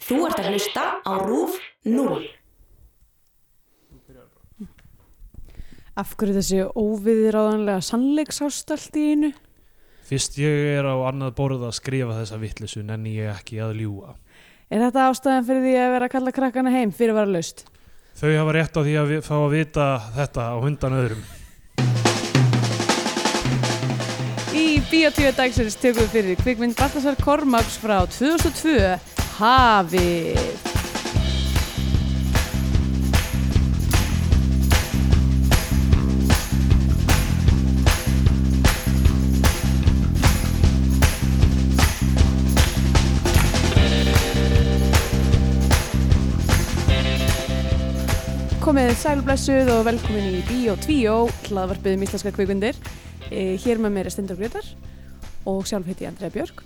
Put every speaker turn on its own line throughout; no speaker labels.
Þú ert að hlusta á RÚF 0.
Af hverju þessi óviðráðanlega sannleiksást allt í einu?
Fyrst ég er á annað borð að skrifa þessa vittlisu nenni ég ekki að ljúa.
Er þetta ástæðan fyrir því að vera að kalla krakkana heim fyrir að vera laust?
Þau hafa rétt á því að vi- fá að vita þetta á hundan öðrum.
Í Bíotíu dagsins tökum við fyrir kvikmynd Baltasar Kormáks frá 2002 Hafið. Komið sælblessuð og velkomin í Bíó 2, hlaðvarpið um íslenska kvikmyndir. Eh, Hér með mér er Stendur Gretar og sjálf heiti ég Andrea Björk.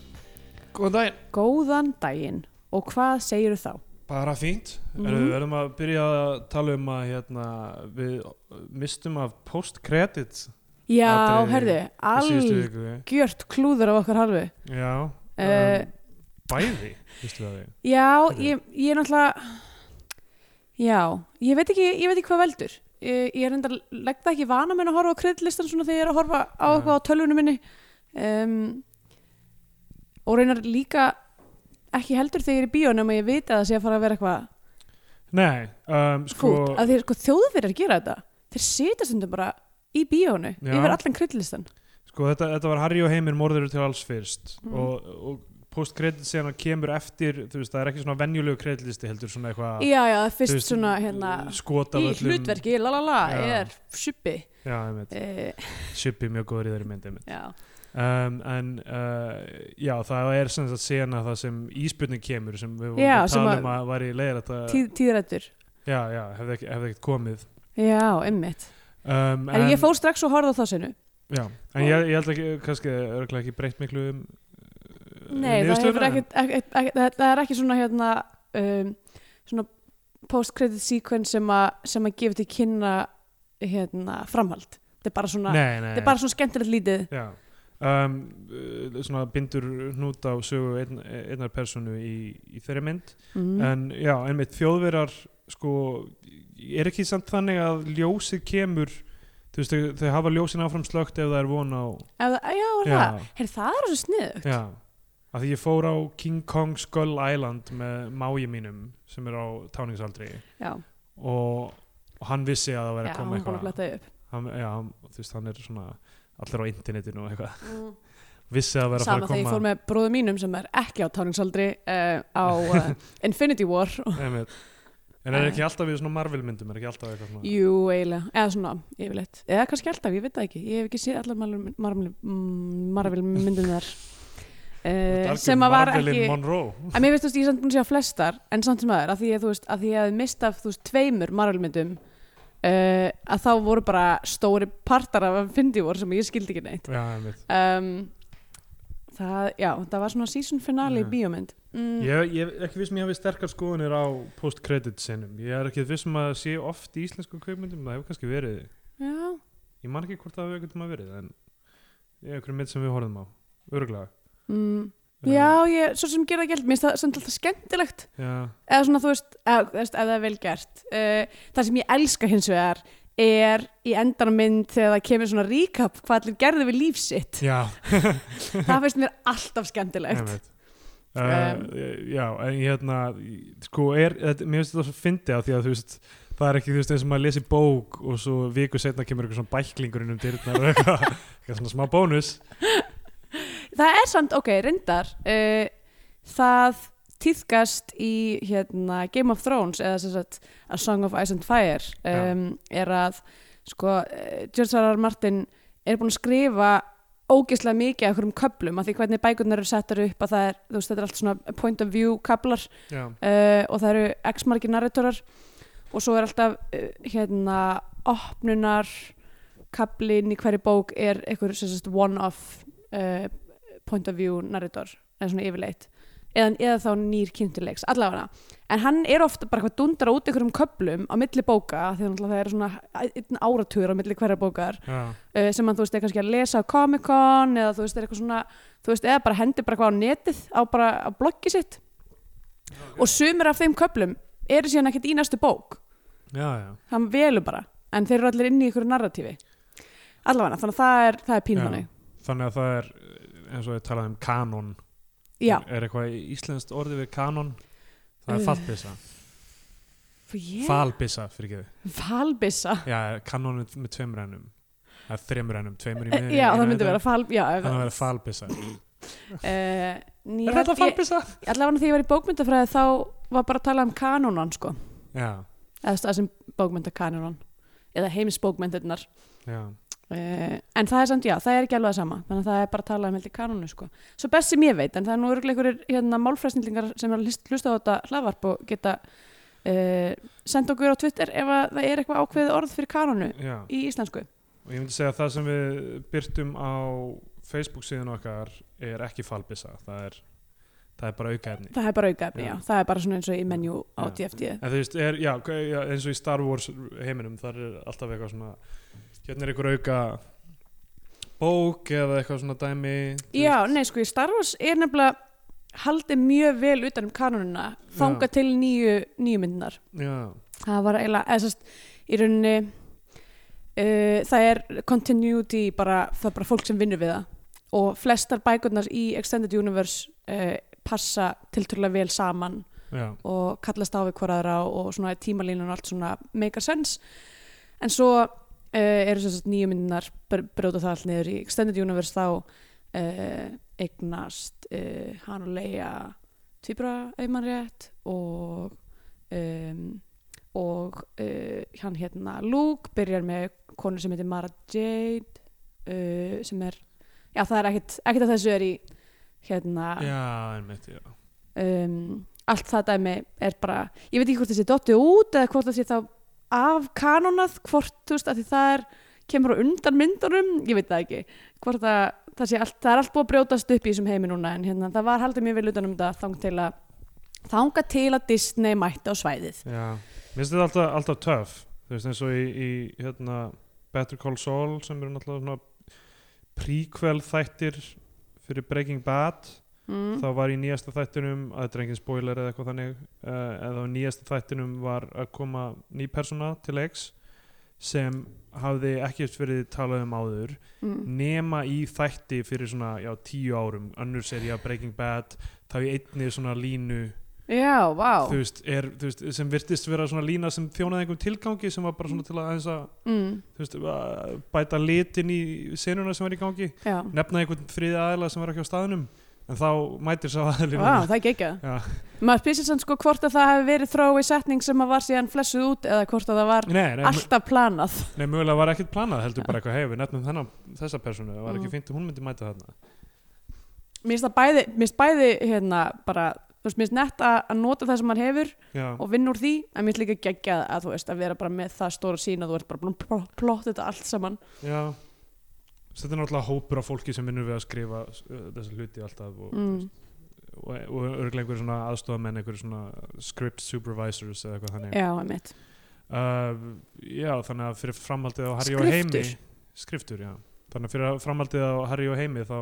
Góðan daginn.
Góðan daginn og hvað segirðu þá?
Bara fínt. Mm
Mhm.
Við verðum að byrja að tala um að hérna, við mistum af post-credits
Já,
Atriði
herðu,
í síðustu
algjört
viku.
klúður af okkar halvu.
Já.
Uh,
um, bæði, vistu það þig.
já,
heyrðu.
ég, ég er náttúrulega, já, ég veit ekki, ég veit ekki hvað veldur. Ég, ég er enda, legg það ekki vana minn að horfa á kreditlistan svona þegar ég er að horfa á
Nei.
eitthvað á tölvunum minni. Um, og reynar líka ekki heldur þegar ég er í bíó nema ég veit að það sé að fara að vera eitthvað
Nei, um,
sko,
sko,
að þeir sko þjóðverðar gera þetta þeir setja stundum bara í bíónu
Já.
yfir allan kryddlistan
sko þetta, þetta var Harry og Heimir morður til alls fyrst
Mm.
og, og post-credits sena kemur eftir, þú veist, það er ekki svona venjulegu kreditlisti heldur svona eitthvað
já já, það er
Þú
fyrst
veist,
svona hérna
skot af
í
öllum-
hlutverki, la la la,
Já.
er suppi
já, ég veit,
uh,
Shippy mjög góður í þeirri myndi um,
já,
en uh, já, það er sem sagt sena það sem íspurning kemur sem við vorum
Já,
að
sem
tala
að-
um að væri leir að það,
tíð, tíðrættur
já, já, hefði ekki, hefði ekkert komið
já, emmitt,
um,
en, ég fór strax og horfði á þessinu
já, en ég, ég held ekki, kannski örgulega ekki breytt miklu um uh,
nei, það,
um
hefur
niðurstöðuna,
ekkit, ekkit, ekkit, það- það er ekki svona hérna um, svona post-credit sequence sem, a, sem að gefa til kynna hérna framhald þetta er bara
en-
svona,
nei, nei,
þetta er bara svona skemmtilegt lítið
já Um, uh, svona bindur hnút á sögu ein, einnar personu í, í þeirri mynd
mm.
en já, einmitt þjóðverar sko, er ekki samt þannig að ljósið kemur þú veist, þau, þau hafa ljósin áfram slögt ef það er von á
Ef það, já, er
Já.
það. Heyrðu, það er þessu sniðugt.
já, af því ég fór á King Kong Skull Island með mági mínum sem er á táningsaldri
Já,
og, og hann vissi að það væri
já
að
hann
koma
búin að
eitthvað
fletta upp.
hann, já, hann, þú veist, hann er svona allir á internetinu og eitthvað vissi að það væri
Mm. Sama þegar
að fara að
ég
koma
fór með bróðu mínum sem er ekki á táningsaldri uh, á uh, Infinity War.
einmitt. en er ekki alltaf við svona Marvel myndum er ekki alltaf eitthvað svona
Jú, eiginlega. Eða svona, yfirleitt. Eða kannski alltaf, ég veit það ekki. Ég hef ekki séð allar Marvel- Marvel mm, Marvel myndunar. Uh,
Þetta er
sem
algjör
að var
Marvelin
ekki
Monroe
en mér veist þú veist ég er samt búin að sjá flestar en samt sem aður, að því að þú veist að því að ég hef mist af þú veist tveimur marvelmyndum uh, að þá voru bara stóri partar af Infinity War sem ég skildi ekki neitt
já, einmitt
um, það, já, það var svona season finale
Já.
í bíómynd mm,
Ég, ég er ekki vissum ég hafi sterkar skoðunir á post-credit sinnum. Ég er ekki vissum að það sé oft í íslensku kveikmyndum, það hefur kannski verið.
já,
Ég man ekki hvort það hefur einhvern tíma verið, en ég er einhverjum mynd sem við horfum á, öruglega.
mm, já, ég svo sem gera það gælt, mér finnst það samt alltaf skemmtilegt
Já,
eða svona þú veist, eða, þú veist, ef það er vel gert uh, það sem ég elska hins vegar er í endanum mynd þegar það kemur svona recap hvað allir gerðu við líf sitt
já,
það finnst mér alltaf skemmtilegt
einmitt. Uh,
Um.
já, en ég hérna, sko, er, þetta, mér finnst þetta svo fyndið af því að þú veist, það er ekki, þú veist, eins og maður lesi bók og svo viku setna kemur eitthvað svona bæklingur inn um dyrnar og eitthvað, eitthvað svona smá bónus.
það er samt, ok, reyndar uh, það týðkast í hérna, Game of Thrones eða sem sagt A Song of Ice and Fire um, er að sko, eh, George R. R. Martin er búin að skrifa ógeðslega mikið af einhverjum köplum af því hvernig bækurnar eru settar upp að það er, þú veist, þetta er allt svona point of view kaplar
Já,
uh, og það eru x margir narratorar og svo er alltaf uh, hérna opnunar kaplinn í hverju bók er einhver sem sagt one-off uh, point of view narrator eða svona yfirleitt eða, eða þá nýr kynntilegs, allavega en hann er ofta bara hvað dundar út einhverjum köplum á milli bóka, því að það er svona eh, einn áratugur á milli hverja bókar
já,
uh, sem að þú veist er kannski að lesa á Comic Con eða þú veist er eitthvað svona þú veist eða bara hendi bara hvað á netið á bara á bloggi sitt og sumir af þeim köplum eru síðan ekkert í næstu bók
já, já,
hann velur bara, en þeir eru allir inn í ykkur narratífi allavega, þannig að það er, það er
Já.
pínum þannig
þannig að það er eins og ég talaði um kanon
já,
er eitthvað íslenskt orðið við kanon það
Uh,
er fallbissa,
Ég-
falbissa fyrir ekki
falbissa
já, kanon er með tveimur ennum það er þreimur ennum, tveimur í
Eh,
miðjunni,
já,
einu
það myndi
endanum.
vera fal, já, ef-
þannig að það vera falbissa
Eh, en ég
er þetta
held ég-
falbissa?
allavega þegar ég var í bókmyndafræði þá var bara að tala um kanónan sko
já,
eða það sem bókmyndakanónan eða heimisbókmyndirnar
já,
uh, en það er samt, já, það er ekki alveg það sama þannig að það er bara að tala um heldur kanónu sko svo best sem ég veit, en það er nú örgulega einhverjir hérna, málfræsninglingar sem er að hlust- hlusta á þetta hlaðvarp og geta uh, senda okkur á Twitter ef að það er eitthvað ákveðið orð fyrir kanónu
já
í íslensku
og ég myndi segja að það sem við byrtum á Facebook síðan okkar er ekki falbissa, það er það er bara aukaefni
það er bara aukaefni,
Já.
já, það er bara svona eins og í menjú á
Já.
DFT
En þú veist, er, já, hva- já, eins og í Star Wars heiminum, þar er alltaf eitthvað svona hérna er einhver auka bók eða eitthvað svona dæmi þú veist.
Já, nei, sko, í Star Wars er nefnilega haldið mjög vel utan um kanonuna þanga til nýju, nýju myndinar
já,
það var eiginlega, eða sérst í rauninni uh, það er continuity bara, það er bara fólk sem vinnur við það og flestar bækurnar í Extended Universe uh, passa tiltrúlega vel saman
já,
og kallast á við hvoraðra og svona tímalínun og allt svona make a sense en svo uh, eru þess að nýju myndinar brjóta það allt niður í Extended Universe þá uh, eignast uh, hann og Leia tvíbra einmann rétt og um, og uh, hann hérna Luke byrjar með konu sem heitir Mara Jade uh, sem er já það er ekkert, ekkert að þessu er í hérna
já, einmitt, já
um, allt það dæmi er bara ég veit ekki hvort þessi dotti út eða hvort þessi þá af kanonað hvort þú veist að því það er kemur á undan myndunum, ég veit það ekki hvort það, það sé allt, það er allt búið að brjótast upp í þessum heimi núna en hérna það var haldið mjög vel utan um þetta þang til að þanga til að Disney mætti á svæðið
já, mér finnst þetta alltaf, alltaf töff þú veist, eins og í, í hérna Better Call Saul sem eru náttúrulega svona prequel þættir fyrir Breaking Bad
mm.
þá var í nýjasta þættinum að þetta er engin spoiler eða eitthvað þannig uh, eða á nýjasta þættinum var að koma ný persóna til leiks sem hafði ekkert verið talað um áður
mm.
nema í þætti fyrir svona já, tíu árum, önnur serið af Breaking Bad þá í einni svona línu
já, vá
þú veist, er, þú veist, sem virtist vera svona lína sem þjónaði einhverjum tilgangi sem var bara svona til að, aðeins að
mm.
þú veist, að bæta litin í senuna sem var í gangi
já,
nefna einhvern þriði aðila sem var ekki á staðnum en þá mætir sá aðilin
vá, það er geggjað
Já.
maður spyrir sér sko hvort að það hefði verið þrói setning sem að var síðan flessuð út eða hvort að það var
Nei, nei,
alltaf planað
nei, mögulega var ekkert planað heldur bara eitthvað, hei, við nefnum þennan þessa personu, það var ekki
Mhm.
fint að hún myndi mæta þarna
mér finnst það bæði, mér finnst bæði hérna bara, þú veist, mér finnst nett að, að nota það sem maður hefur
Já,
og vinna úr því en mér finnst líka geggjað að þú veist að vera bara með það stóra sín að þú ert bara búin að pl- plotta þetta allt saman
já Þetta er náttúrulega hópur af fólki sem vinnur við að skrifa uh, þessa hluti alltaf og,
mm.
og, og örglega einhverjum svona aðstofamenn einhverjum svona script supervisors eða eitthvað þannig
Já, einmitt
uh, Já, þannig að fyrir framhaldið á Harry og Heimi
Skriftur.
Skriftur, já Þannig að fyrir framhaldið á Harry og Heimi þá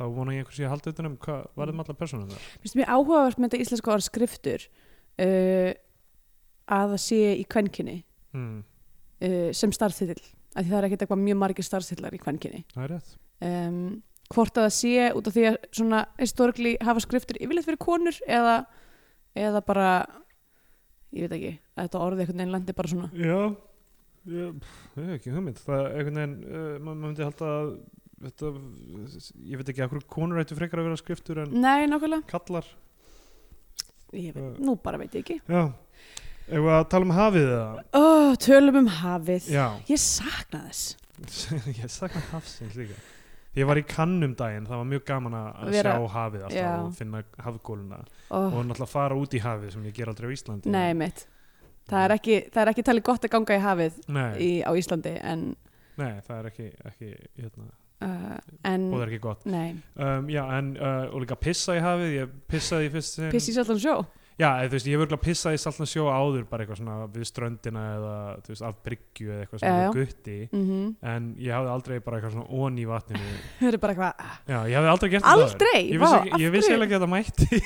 þá vona ég einhversi að halda utan um hvað var
Mm.
þetta með alla personum þar?
Mér finnst mér áhugavert með þetta íslenska orð skriftur uh, að það sé í kvenkinni
Mm,
uh, sem starfþitill af því það er ekkert eitthvað mjög margir starfþitlar í kvenkinni
það er rétt
um, hvort að það sé út af því að svona historikli hafa skriftur yfirleitt fyrir konur eða, eða bara ég veit ekki, að þetta orðið einhvern veginn landi bara svona
Já, ég ég hef ekki hugmynd það er einhvern veginn, uh, ma- maður myndi halda að þetta, ég veit ekki að hverju konur ættu frekar að vera skriftur en
Nei, nákvæmlega,
kallar
ég veit,
Já.
nú bara veit ég ekki
Já, eigum við að tala um hafið það?
Ó, tölum um hafið
Já,
Ég sakna þess
ég sakna hafsins líka Ég var í kannum daginn, það var mjög gaman að að
Vera-
sjá hafið alltaf
Já.
og finna hafgóluna
Ó,
og náttúrulega fara út í hafið sem ég ger aldrei á Íslandi
Nei, mitt Það er, ekki, það er ekki talið gott að ganga í hafið í,
Nei,
á Íslandi en,
nei, það er ekki, ekki hérna,
uh, en
og það er ekki gott
nei,
um, Já, en uh, og líka pissa í hafið, ég pissaði í fyrst sinn
pissi sjaldan á sjó
Já, eða, þú veist, ég hef örgulega pissað í saltna sjó áður bara eitthvað svona við ströndina eða þú veist, af bryggju eða eitthvað svona
Já, já.
með gutti
mm -hmm.
en ég hafði aldrei bara eitthvað svona ón í vatninu
Það er bara eitthvað
Já, ég hafði aldrei gert
Aldrei?
það áður. Ég
Vá,
vissi,
af
ég vissi
hverju?
eiginlega ekki að þetta mætti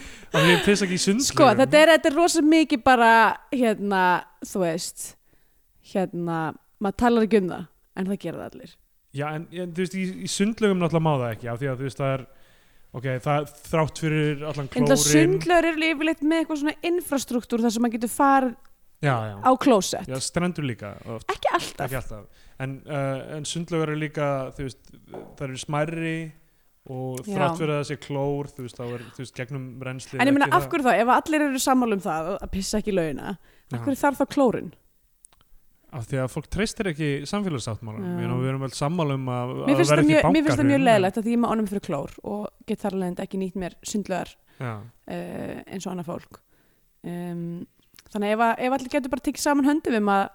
Af því ég pissa ekki í sundlögum
Sko, þetta er, þetta er rosa mikið bara hérna, þú veist hérna, maður talar ekki um það en það gera það allir
Já, en, en þú veist, í, í sundlögum náttúrulega má það ekki af því að þú veist, það er ok, það er þrátt fyrir allan
En það
klórin
sundlegur eru yfirleitt með eitthvað svona infrastruktúr þar sem maður getur farið
Já, já,
á klósett
já, strendur líka oft,
Ekki alltaf
ekki alltaf en, uh, en sundlögur eru líka, þú veist það eru smærri og
Já.
þrátt fyrir að það sé klór þú veist, þá er, þú veist, gegnum rennsli
En ég meina, af hverju þá, ef allir eru sammála um það að pissa ekki í laugina, af hverju þarf þá klórin?
Af því að fólk treystir ekki samfélagssáttmálum
Já.
Ég meina, Við erum vel sammála um að að
Mér finnst það
verði
mjög,
ekki
mér finnst það mjög
bankahrun.
leðilegt að því ég maður ánum fyrir klór og get þar alveg ekki nýtt mér sundlegar
Já,
uh, eins og annað fólk um, Þannig að ef, að- ef allir getur bara tekið saman höndum um að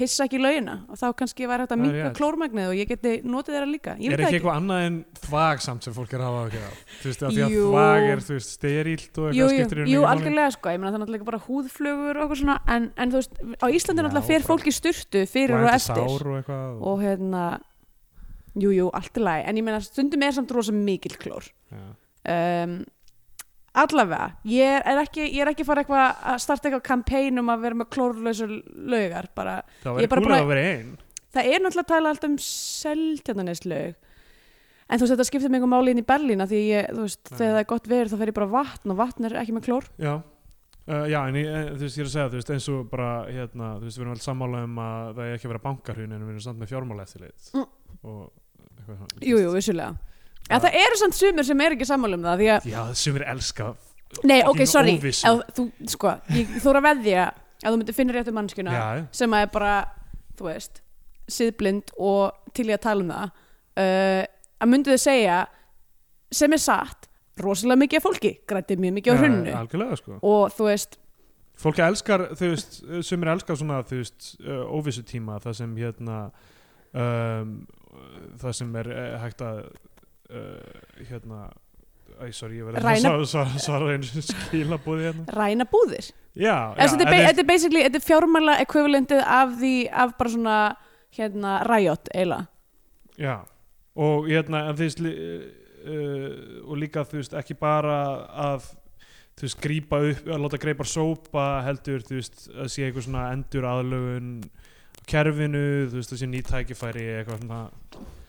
pissa ekki í laugina og þá kannski væri hægt að
Það er
minka
rétt.
klórmagnið og ég geti notið þeirra líka Ég
Er
veit það
ekki
ekki
eitthvað annað en þvag samt sem fólk er að hafa ekki á Þú veist, af því að
Jú.
þvag er, þú veist, sterílt og
Jú,
eitthvað
jú,
skiptir í raun
jú,
ekki máli.
algjörlega sko, ég meina það er náttúrulega bara húðflugur og eitthvað svona, en, en þú veist, á Íslandi
Já,
náttúrulega fer
bara-
fólk í sturtu fyrir og
Blæðandi
eftir
sár og eitthvað og,
og hérna jú, jú, allt í lagi, en ég meina stundum er samt rosa mikill klór
já.
um, allavega ég er ekki, ég er ekki fara eitthvað að starta eitthvað kampæn um að vera með klórlausu laugar, bara, Ég er
Það væri
bara
kúl
búin
að vera einn
það er náttúrulega að tala allt um seldjarnaneslaug en þú veist, þetta skiptir mig einhver máli inn í Berlín af því ég, þú veist,
Já.
þegar það er gott veður þá fer ég bara á vatn og vatn er ekki með klór
Já Uh, já, en ég, en þú veist, ég er að segja, þú veist, eins og bara, hérna, þú veist, við erum alveg sammála um að það er ekki að vera bankarhun en við erum samt með fjármála eftirlit
Mm.
og eitthvað svona.
jú, jú, vissulega En
Já.
það eru samt sumir sem er ekki sammála um það því að,
Já, sumir elska
nei, ok,
Fucking
sorry
óvissu.
ef, þú, sko, ég þú er að veðja að þú myndir finna réttu mannskjuna
Já,
sem að er bara, þú veist síðblind og til í að tala um það uh, að myndu þau segja sem er satt rosalega mikið af fólki, grætti mjög mikið á
já,
hrunnu
Algjörlega, sko.
og þú veist,
Fólk elskar, þú veist, sem er elskar svona, þú veist, uh, óvissu tíma, það sem hérna, um, það sem er uh, hægt að, uh, hérna, æ, sorry, ég verði
Ræna-
að svara- svara- svara einu skilabúði hérna.
ræna búðir
Já,
Eða
já,
þetta er
en
ba-
þú veist,
þetta er basically, þetta er fjármæla ekvivalentið af því, af bara svona hérna, ræjot, eiginlega
já, og hérna, en þú veist, li- uh, og líka, þú veist, ekki bara að, þú veist, grípa upp, að láta greipar sópa heldur, þú veist, að sé eitthvað svona endur aðlögun kerfinu, þú veist, þessi nýtækifæri eitthvað svona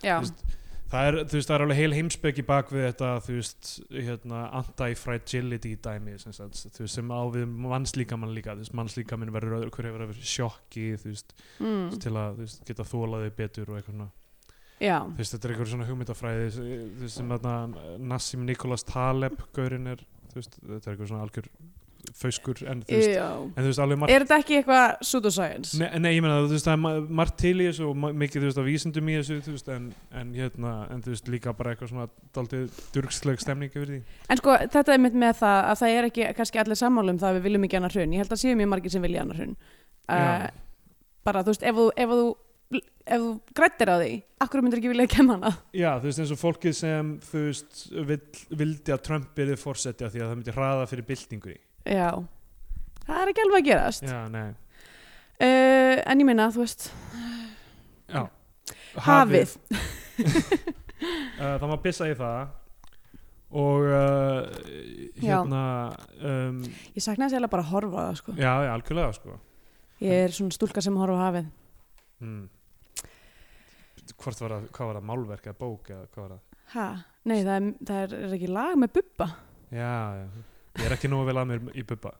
Já,
Þú það er, þú veist, það er alveg heil heimsbyggi bak við þetta, þú veist, hérna, anti-fragility dæmi, sem, sagt, þú veist, sem á við mannslíkamann líka, þú veist, mannslíkaminn verður öðru hverju verður fyrir sjokki, þú veist,
mm,
til að, þú veist, geta þólaði betur og eitthvað svona,
já,
þú veist, þetta er einhver svona hugmyndafræði, þú veist, sem þarna Nassim Nikolas Taleb, gaurinn er, þú veist, þetta er einhver svona algjör föskur, en þú veist,
já.
en þú veist, alveg margt
Er þetta ekki eitthvað pseudoscience?
Nei, nei, ég meina þú veist, það er ma- margt til í þessu og ma- mikið, þú veist, að vísindum í þessu, þú veist, en, en hérna, en þú veist, líka bara eitthvað svona daldið durgsleg stemning yfir því.
En sko, þetta er mitt með það að það er ekki kannski allir sammála um það að við viljum ekki annar hrun. Ég held að séu mjög margir sem vilja annar hrun. Uh,
Já.
bara, þú veist, ef þú, ef þú, ef þú grættir á því, akkur myndir ekki vilja að kemma hana.
Já, þú veist, eins og fólkið sem, þú veist, vill, vildi að Trump byrði fórsetja því að það myndi hraða fyrir byltingu í.
Já, það er ekki alveg að gerast.
Já, nei.
Uh, en ég minna, þú veist,
Já.
hafið.
Uh, það má pissa í það og uh,
Já.
hérna, um,
Ég saknaði sérlega bara að horfa á það, sko.
já, já, algjörlega, sko.
Ég er svona stúlka sem horfa á hafið.
Mm. Hvort var það, hvað var það, málverk eða bók eða hvað var það?
Ha? Nei, það er, það er, er ekki lag með bubba.
Já, já. Ég er ekki nógu vel að mér í bubba.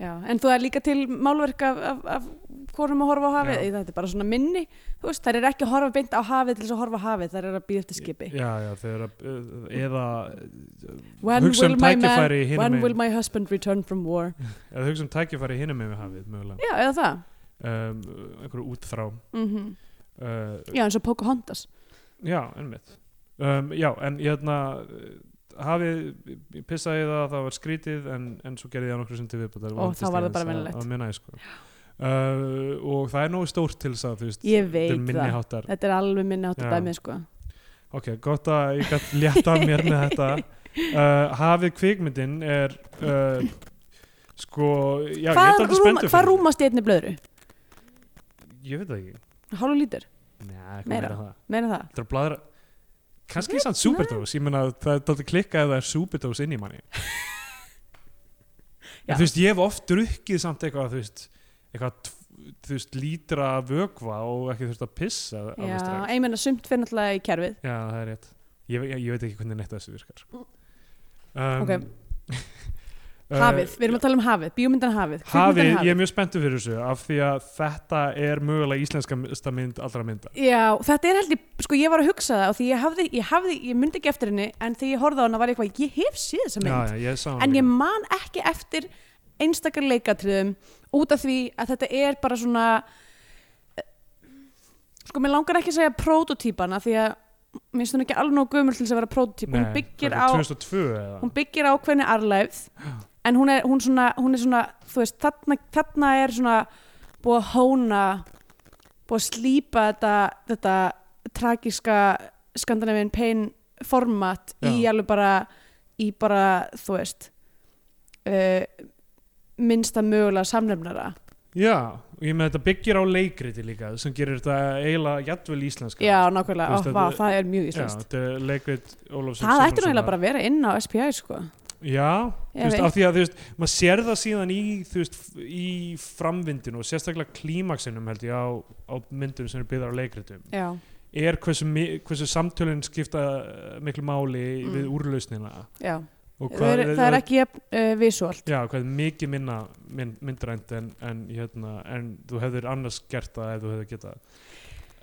Já, en þú er líka til málverk af, af, af hvorum að horfa á hafið,
Já.
Í, þetta er bara svona minni, þú veist, þær er ekki að horfa beint á hafið til þess að horfa á hafið, þær er að býða eftir skipi.
Já, já, þau eru að, eh, eða,
When
hugsa
will
um
my man,
tækifæri hinum
when will
megin,
my husband return from war?
eða hugsa um tækifæri hinum megin við hafið, mögulega.
Já, eða það.
Um, einhverju útþrá.
Mm
Uh,
Já, eins og Pocahontas.
já, ennmitt. Um, já, en hérna, eh, hafið, ég pissaði í það að það var skrítið, en, en svo gerði ég það nokkru sem til viðbútt.
Ó, þá var það bara venjulegt.
Það var minnaði, sko. Uh, og það er nógu stórt til þess að, þú veist,
Ég
þetta
veit
er minni
það.
háttar.
Þetta er alveg minni átt að
Já.
dæmið, sko.
Ok, gott að ég gætt létta af mér með þetta. Uh, hafið kvikmyndin er uh, sko, já, ég er
Hvað
aldrei
rúm-
spenntur
hvað
fyrir.
rúmast í einni blöðru?
Ég veit það ekki.
Hálfu lítur?
Nei, eitthvað
Meira.
meira það.
Meina það?
Þetta er að bladra, kannski samt superdós ég meina það er dálítið klikkað ef það er superdós inn í manni
Já.
en þú veist ég hef oft drukkið samt eitthvað þú veist eitthvað tv- þú veist lítra af vökva og ekki þurft að pissa alveg
Já, e-
strax.
ég meina sumt fyrir náttúrulega í kerfið
já það er rétt ég, ég, ég veit ekki hvernig netta þessu virkar um,
Mm. Ok.
uh,
Hafið, við erum að tala um hafið, bíómyndan hafið
Hafið,
kvikmyndan
ég er mjög spenntu fyrir þessu af því að þetta er mögulega íslenska mesta mynd allra mynda
Já, þetta er heldur, sko ég var að hugsa það og því ég hafði, ég hafði, ég myndi ekki eftir henni en þegar ég horfði á hana var ég eitthvað, ég hef séð þessa mynd
já, já, ég sá hana
en ég
líka.
man ekki eftir einstakar leikatriðum út af því að þetta er bara svona eh, sko, mér langar ekki að segja prototýpana því að mér finnst hún ekki alveg nóg gömul til þess að vera prototýpa, hún
Nei,
byggir
þetta
á
er 2002 eða
hún byggir ákveðni arlæfð en hún er, hún, svona, hún er svona þú veist, þarna, þarna er svona búið að hóna búið að slípa þetta, þetta tragiska skandinavin pain format í
Já.
alveg bara í bara, þú veist uh, minnsta mögulega samlefnara
Já, og ég með þetta byggir á leikriti líka sem gerir þetta eiginlega jættvel íslenska
já,
Þú
nákvæmlega,
veist,
oh,
þetta
vá,
er-
það er mjög
Já,
íslenskt
þetta er leikrit Ólafs
það ætti nú eiginlega bara að vera inn á SPI sko.
Já, þú
Ég
veist,
veit.
af því að þú veist, maður sér það síðan í, þú veist, f- í framvindinu og sérstaklega klímaksinum held ég á, á myndum sem eru byggðar á leikritum
já,
er hversu, mi- hversu samtölinn skipta eh, miklu máli
Mm.
við úrlausnina
já
og
það er, það er ekki uh, visual
Já, hvað er mikið minna mynd, myndrænt en, en, hérna, en þú hefðir annars gert það ef þú hefðir getað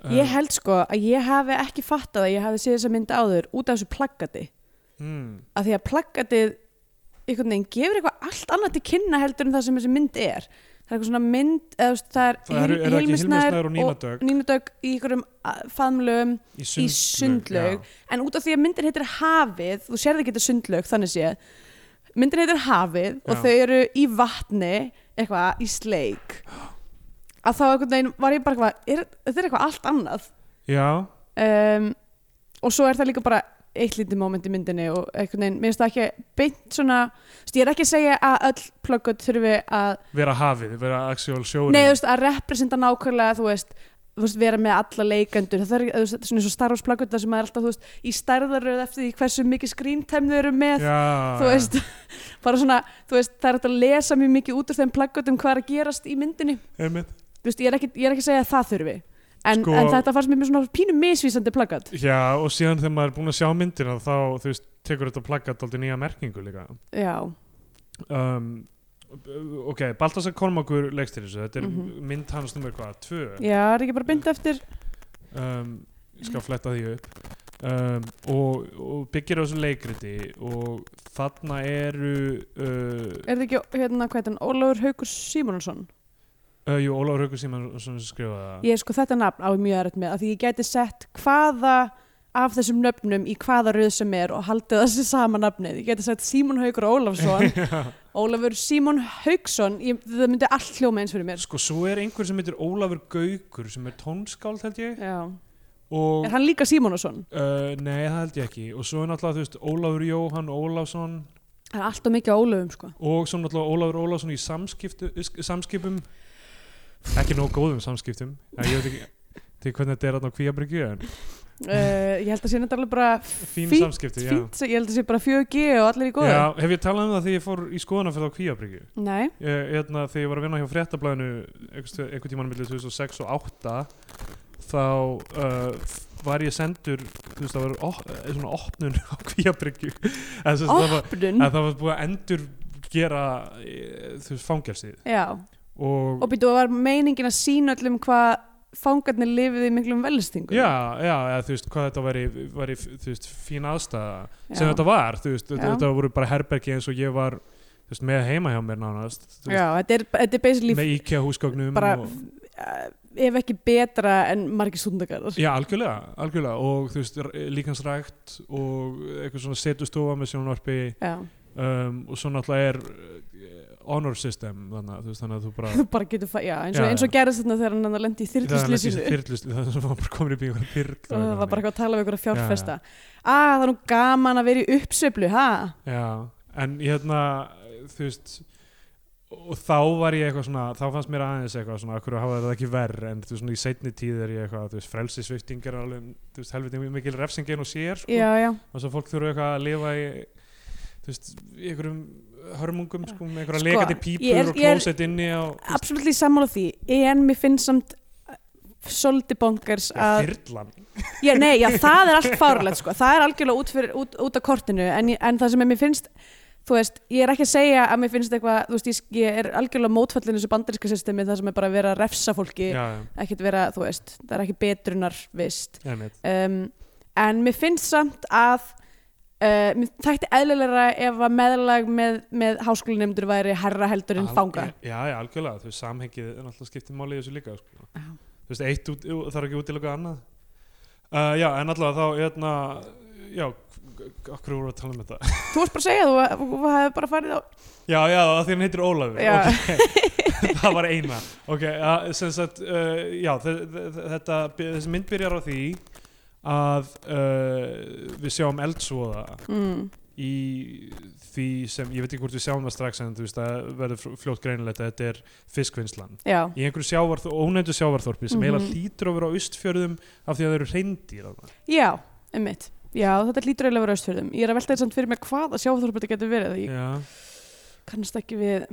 Eh,
Ég held sko að ég hafi ekki fattað að ég hafi séð þessa mynd áður út af þessu plaggati
mm,
af því að plaggatið einhvern veginn gefur eitthvað allt annað til kynna heldur en það sem þessi mynd er það er eitthvað svona mynd eða, þú veist, það er,
Það eru er það ekki Hilmisnæður og Nínadögg
nýnadögg í einhverjum faðmlögum
í
í sundlaug en út af því að myndin heitir Hafið þú sérði ekki þetta sundlaug þannig sé myndin heitir Hafið
Já.
og þau eru í vatni eitthvað í sleik að þá einhvern veginn var ég bara eitthvað er, þetta er eitthvað allt annað
Já, já,
um, og svo er það líka bara eitt lítið moment í myndinni og einhvern veginn, mér finnst það ekki beint svona þú veist, ég er ekki að segja að öll plöggut þurfi að,
vera hafið, vera actual sjóri
nei þú veist, að representa nákvæmlega, þú veist, þú veist vera með alla leikendur, það er, þú veist, þetta er svona eins og Star Wars plöggut þar sem maður er alltaf, þú veist, í stærðaröð eftir því hversu mikið screen time þau eru með
Já,
þú veist, bara svona þú veist, það er hægt að lesa mjög mikið út úr þeim plöggutum hvað er að gerast í myndinni
einmitt.
þú veist, ég er ekki, ég er ekki að segja að það þurfi en,
Sko-
en þetta fannst mér með svona pínu misvísandi plöggat
Já, og síðan þegar maður er búin að sjá myndina þá, þú veist, tekur þetta plaggat aldrei nýja merkingu líka
já,
um, Ok, Baltasar Kormakur leikst til þessu, þetta er
Mhm.
mynd hans nummer hvað, tvö
já, er ekki bara bynd eftir
um, ég skal fletta því upp um, og, og byggir á þessu leikriti og þarna eru uh,
Er það ekki, hérna, hvað heitir hann, Ólafur Haukur Símónsson?
uh, jú, Ólafur Haukur Simonsson skrifaði það
Ég sko þetta nafn á ég mjög erfitt með, af því ég gæti sett hvaða af þessum nöfnum í hvaða röð sem er og haldið þessi sama nafnið. Ég gæti sett Símon Haukur Ólafsson, Ólafur Símon Hauksson, ég, það myndi allt hljóma eins fyrir mér.
sko, svo er einhver sem heitir Ólafur Gaukur sem er tónskáld held ég
Já.
og,
Er hann líka Símónsson?
uh, nei, það held ég ekki og svo er náttúrulega, þú veist, Ólafur Jóhann Ólafsson
Það er alltaf mikið á Ólafum, sko.
og svo náttúrulega Ólafur Ólafsson í samskiptu, sk- samskipum ekki nóg góðum samskiptum Já, ég veit ekki, til hvernig þetta er þarna á kvíabryggju en
Uh, ég held að sé þetta alveg bara
fín
Fínt,
samskipti, já
fínt, ég held að sé bara 4G og allir í góðu.
Já, hef ég talað um það þegar ég fór í skoðana fyrir á Kvíabryggju
Nei,
ég, hérna, þegar ég var að vinna hjá fréttablaðinu einhvern einhver tímann millir 2006 og 2008 þá uh, var ég sendur þú veist, það var op eh, svona opnun á Kvíabryggju en, sem sagt, það var-
opnun.
en það var búið að endur gera eh, þú veist, fangelsið
Já,
og
og býtu, var meiningin að sína öllum hvað fangarnir lifið í miklum velstingum?
Já, já, eða, þú veist, hvað þetta væri, væri þú veist, fín aðstæða sem
Já.
þetta var, þú veist,
Já.
þetta voru bara herbergi eins og ég var, þú veist, með heima hjá mér nánast, þú
Já, þetta er, þetta er basically
með IKEA húsgögnum
bara,
og,
uh, ef ekki betra en margir stundagarðar.
Já, algjörlega, algjörlega og þú veist, r- líkansrækt og eitthvað svona setustofa með sjónvarpi
Já,
um, og svo náttúrulega er eh, honor system þannig, að, þú veist, þannig að þú bara
þú bara getur, fa- já, eins og,
Já,
eins og gerðist þarna þegar hann lendi í þyrluslýsinu og
þyrtlust, það sem var bara komin upp í einhverja þyrtlu
það var bara eitthvað að tala við ykkur að fjárfesta.
Já,
Ah, það er nú gaman að vera í uppsöflu, ha?
Já, en hérna, þú veist og þá var ég eitthvað svona þá fannst mér aðeins eitthvað svona akkur hafa þetta ekki verð en þú veist svona í seinni tíð er ég eitthvað þú veist frelsisvifting er alveg þú veist helviti mikil refsingin og sér sko.
já, já,
og svo fólk þurfa eitthvað að lifa í þú veist í einhverjum hörmungum sko með einhverja
Sko,
lekandi
ég er-
pípur og
ég er-
klósett inni og
absolutt í sammála því en mér finnst samt svolítið bongars að
þyrlan
Já, nei, já, það er allt fárlegt sko. það er algjörlega út, fyrir, út, út af kortinu en, ég- en það sem er mér finnst þú veist, ég er ekki að segja að mér finnst eitthvað þú veist, ég, ég er algjörlega mótfallin þessu bandaríska systemi það sem er bara að vera að refsa fólki
já,
ekkert vera, þú veist, það er ekki betrunar vist
ég veit
um, en mér finnst samt að uh, mér þætti eðlilegra ef að meðlag með, með háskólinemdur væri herra heldur en fanga
já, já, algjörlega, þú veist samhengið er náttúrulega skiptið máli í þessu líka sko. þú veist, eitt út, það er ekki út í lögu annað uh, já, en allavega þá hérna, já, okkur voru að tala um þetta
þú varst bara að segja, þú, þú, þú hefði bara farið á
já, já, af því hann heitir Ólafur
Já.
ok, það var eina ok, uh, sem sagt uh, já, þe- þe- þetta, þessi mynd byrjar á því að uh, við sjáum eldsvoða
mm,
í því sem, ég veit ekki hvort við sjáum það strax en þú veist, það verður fl- fljótt greinilegt að þetta er fiskvinnslan
já,
í einhverju sjávarþ ónefndu sjávarþorpi sem
Mhm.
eiginlega hlýtur að vera á austfjörðum af því að það eru reyndir
já, einmitt já, þetta lítur eiginlega að vera austfjörðum ég er að velta þér samt fyrir mér hvað að sjáþorpa þetta getur verið ég
Já.
kannast ekki við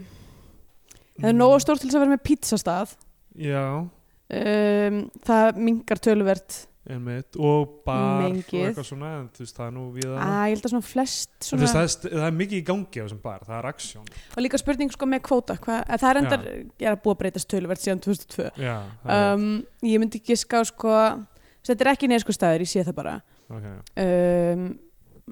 það er nógu stór til þess að vera með pizzastað
Já,
um, það mingar töluvert
einmitt og bar
Mengið. Ah,
og eitthvað svona en þú veist, það er nú við að
að ég held að svona flest
Þú veist,
svona,
það, er, st- það er mikið í gangi á þessum bar, það er aksjón
og líka spurning sko með kvóta hva, að það er endar, ég er að búa að breytast töluvert síðan 2002
Já, það
um, ég myndi ekki ská sko þetta er ekki neðsku staður, ég sé það bara
er, okay.
um,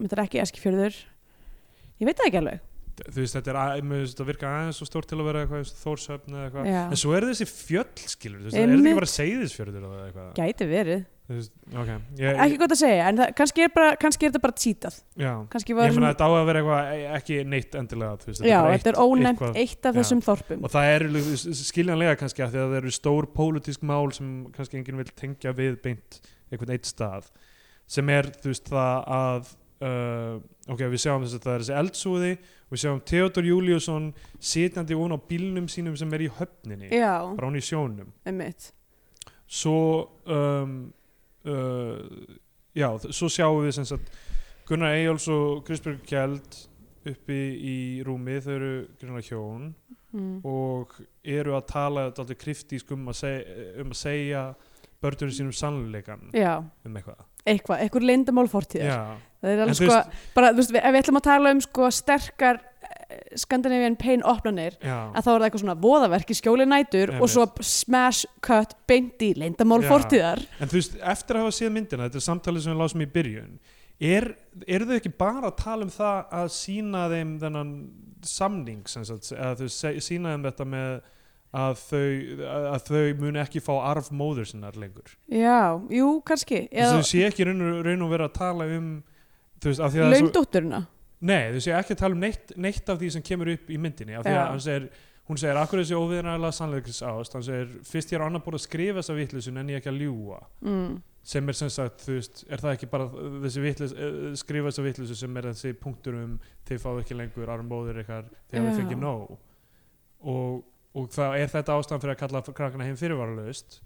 þetta er ekki eskifjörður ég veit það ekki alveg
Þú veist, þetta er að- mér finnst þetta virka aðeins svo stór til að vera eitthvað eins og þórsöfn eða eitthvað
Já.
En svo eru þessi fjöll, skilur, þú veist, það er þetta
Einmitt.
ekki bara seyðisfjörður eða eitthvað
gæti verið,
Þú veist, ok, ég,
ekki gott að segja en það, kannski, er bara, kannski er þetta bara títað
já
kannski
Ég
var
meina þetta á að vera eitthvað e- ekki neitt endilega, þú veist,
já,
bara
þetta er
eitt-
ónefnt
eitthvað-
eitt af
já.
þessum þorpum
og það er skiljanlega kannski að því að það eru stór pólitísk mál sem kannski enginn vil tengja við beint einhvern eitt stað sem er þú veist það að uh, ok, við sjáum þess að það er þessi eldsúði og við sjáum Theodor Júliusson sitjandi ón á bílnum sínum sem er í höfninni,
já,
bara hún í sjónum
einmitt
svo um, uh, já, þ- svo sjáum við sem sagt Gunnar Eyjóls og Krisbjörg Kjeld uppi í rúmi, þau eru grunna hjón
mm.
og eru að tala alltaf kryftísk um að segja, um að segja börnunum sínum sannleikan
já,
um eitthvað
eitthvað, eitthvað leyndamál fortíðar
Já,
það er
En
alveg
þú
sko, bara, þú veist, ef við ætlum að tala um sko sterkar eh, Scandinavian pain opnanir
já,
að þá er það eitthvað svona voðaverk í skjóli nætur og svo smash cut beint í leyndamál
Já.
fortíðar
en þú veist, eftir að hafa séð myndina þetta er samtalið sem við lásum í byrjun er, eru þau ekki bara að tala um það að sína þeim þennan samning, sem sagt, að þau se- sína þeim þetta með að þau, að að þau muni ekki fá arf móður sinnar lengur,
já, jú, kannski
Eða,
eða
þau sé ekki raun og, raun og vera að tala um þú veist, af því að það er svo-
laundótturina
Nei, þú séu ekki að tala um neitt, neitt af því sem kemur upp í myndinni af því
Já.
að hann segir, hún segir akkur þessi óviðnægilega sannleikis ást hann segir, fyrst ég er á annar búin að skrifa þessa vitleysu en ég ekki að ljúga
mm.
sem er sem sagt, þú veist, er það ekki bara þessi vitleys, eh, skrifa þessa vitleysu sem er þessi punktur um þið fáðu ekki lengur armbóður ykkar, þið hafið
Já.
fengið nóg og, og það er þetta ástæðan fyrir að kalla krakkana heim fyrirvaralaust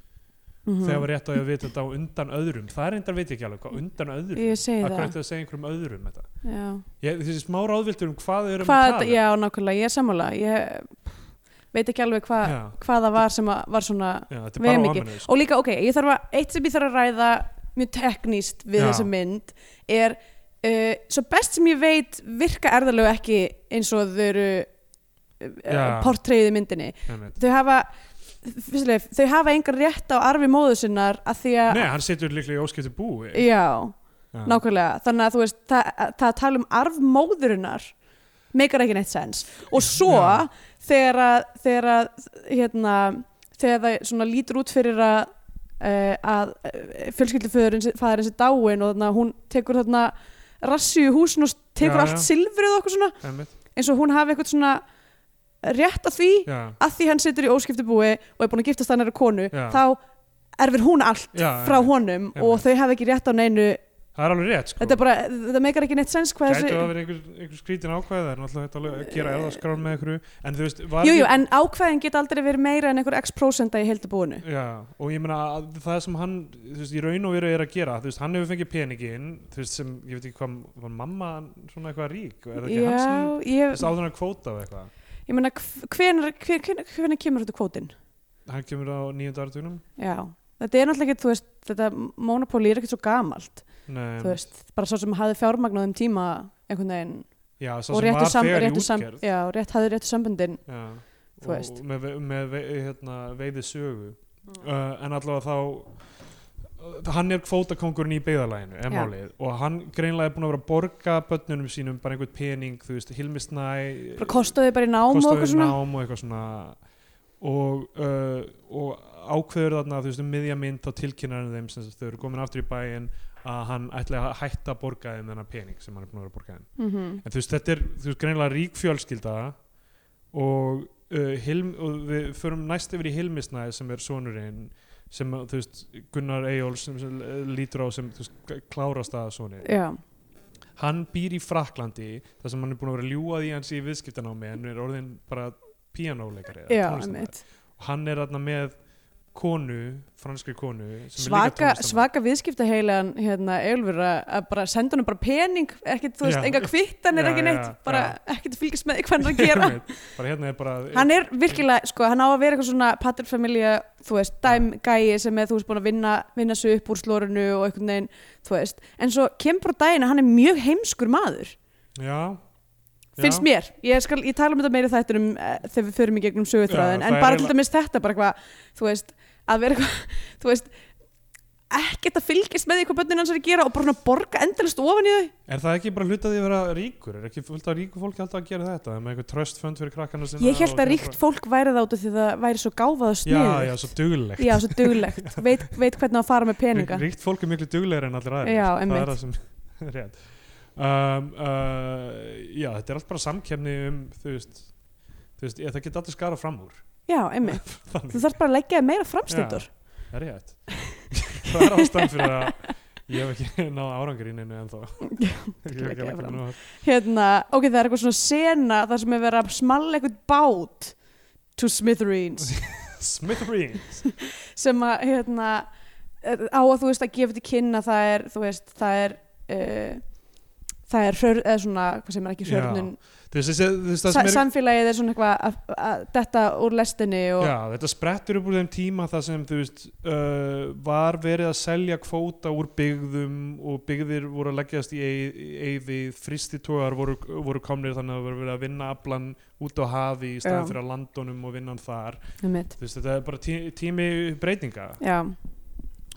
Mm
þegar var rétt á ég að vita þetta á undan öðrum það er endar veit ég ekki alveg hvað, undan öðrum
ég segi
Akkur
það
ætti að segja einhverjum öðrum þetta
já.
Ég, þessi smá ráðviltur um hvað þau eru
hvað,
að tala um.
já, nákvæmlega, ég er sammála ég veit ekki alveg hva,
Já.
hvað það var sem að, var svona
Já, þetta er
Við
bara sko,
erum ekki-
óaminnus
og líka, ok, ég þarf að, eitt sem ég þarf að ræða mjög tekníst við
Já.
þessa mynd er, uh, svo best sem ég veit virka erðalegu ekki eins og þau eru uh,
Já.
portreyið í myndinni þau hafa, fyrstulega, þau hafa engar rétt á arfi móðu sinnar að því að
Nei, hann situr líklega í óskiptu búi
já,
Já.
nákvæmlega þannig að þú veist, það, það að tala um arf móðurinnar meikar ekki neitt sens og svo
Já.
þegar að, þegar að hérna, þegar það svona lítur út fyrir að uh, að fjölskylduföðurinn fæðurinn sér dáin og þannig að hún tekur þarna rassi í húsin og tekur
Já,
allt
já.
silfrið og okkur svona
Einmitt.
eins og hún hafi eitthvað svona rétt á því
Já,
að því hann situr í óskiptubúi og er búin að giftast þannig konu
Já.
þá erfir hún allt
já,
frá
einmitt.
honum og þau hafa ekki rétt á neinu
það er alveg rétt sko.
þetta er bara, þetta meikar ekki neitt sens hvað
gætu að vera einhver, einhver skrítin ákvæði það er náttúrulega hægt alveg að gera erðaskrán með einhverju en þú veist var
jú, jú,
ekki-
en ákvæðin get aldrei verið meira en einhver x prósenda í heildabúinu
já, og ég meina að það sem hann þú veist, í raun og veru er að gera þú veist, hann hefur fengið peningin þú veist, sem, ég veit ekki hvað, var mamma svona eitthvað rík, er það ekki hann sem
já,
þú
ég,
veist, áður hann kvóta af eitthvað
ég meina hvenar, hvenar, hvenar kemur þetta kvótin
hann kemur á nýjönda artugnum
já, þetta er náttúrulega ekki þú veist, þetta monopóli er ekkert svo gamalt þú
já,
veist, bara svo sem hafði fjármagn á þeim tíma einhvern veginn og
sá sem
réttu
var
sam,
þegar í
réttu sam,
útgerð
já, rétt, hafði réttu samböndin
já,
Þú veist.
og með, ve- með ve, hérna, veiði sögu uh, en allavega þá uh, hann er kvótakongurinn í beigðalæginu
Já.
og hann greinlega er búin að vera að borga börnunum sínum bara einhvern pening þú veist, Hilmisnæ
bara kostaði bara í nám og okkur svona
nám og eitthvað svona og, uh, og ákveður þarna þú veist, um miðja mynd þá tilkynnar hann þeim sem sagt, þau eru komin aftur í bæinn að hann ætli að hætta að borga þeim þennan pening sem hann er búin að vera að borga þeim
mhm,
en þú veist, þetta er, þú veist, greinlega rík fjölskylda og, uh, Hilm, og við förum næst yfir í Hilmisnæði sem er sonurinn sem, uh, þú veist, Gunnar Eyjóls sem, sem uh, lítur á sem, þú veist, klárast að sonir.
já,
Hann býr í Fraklandi, þar sem hann er búin að vera ljúað í hans í viðskiptanámi en er orðin bara píanóleikari. eða
já,
tónlistarmaður.
einmitt
Og hann er þarna með konu, franskri konu
svaka,
sem er líka tónlistarmaður.
svaka viðskiptaheilan hérna, Eilfur að að bara senda honum bara pening ekkert, þú veist,
Já.
enga kvittan er
Já,
ekki
já,
neitt
já.
bara ekkert fylgjast með því hvað hann er að gera
bara hérna er bara
hann er virkilega, sko, hann á að vera eitthvað svona paterfamilja, þú veist, dæm gæi sem er, þú veist, búin að vinna, vinna sig upp úr slórunu og einhvern veginn, þú veist en svo kemur á daginn að hann er mjög heimskur maður
já,
finnst mér, ég, skal, ég tala um þetta meira þetta um þegar við förum í gegnum söguþráðin
Já, það
en
er
bara til
eiginlega-
dæmis þetta, bara eitthvað þú veist, að vera eitthvað þú veist, ekkert að fylgjast með því hvað bönnin hans er að gera og bara svona borga endalist ofan í þau
Er það ekki bara hluta því að vera ríkur? Er ekki fullt af ríku fólki alltaf að gera þetta? Með eitthvað trust fund fyrir krakkana sinna?
ég held
og
að ríkt fólk væri það út af því það væri svo gáfað og
Já,
sniðugt
já, svo duglegt.
Já, svo duglegt, veit, veit hvernig á að fara með peninga
Ríkt fólk er miklu duglegri en allir aðrir.
Já,
Það
einmitt.
er það sem er rétt. Um, uh, já, þetta er allt bara samkefni um, þú veist, þú veist, ég, það geta allir skara fram úr.
Já, einmitt,
Þannig,
þú þarf bara að leggja þér meira framstöndur
það er rétt. það er ástæðan fyrir að ég hef ekki náða árangur í neinu ennþá. ég hef
leggja
ekki
það
alveg
fram.
nú
Hérna, ok, það er eitthvað svona sena þar sem er verið að smalla eitthvað bát to smithereens
Smithereens.
sem að hérna, eh, á að þú veist að gefa til kynna það er, þú veist, það er uh, það er hrör, eða svona, hvað sem er ekki
Já,
hrörnun
Þú veist, þessi- þú veist, það
Sa
sem er
samfélagið er svona eitthvað að- að detta úr lestinni og
Já, þetta sprettur upp úr þeim tíma þar sem þú veist uh, var verið að selja kvóta úr byggðum og byggðir voru að leggjast í eyði, fristitógar voru, voru komnir þannig að voru verið að vinna aflan út á hafi í staðan
Já.
fyrir að landunum og vinna hann þar
einmitt.
þú veist, þetta er bara tí, tími breytinga
Já,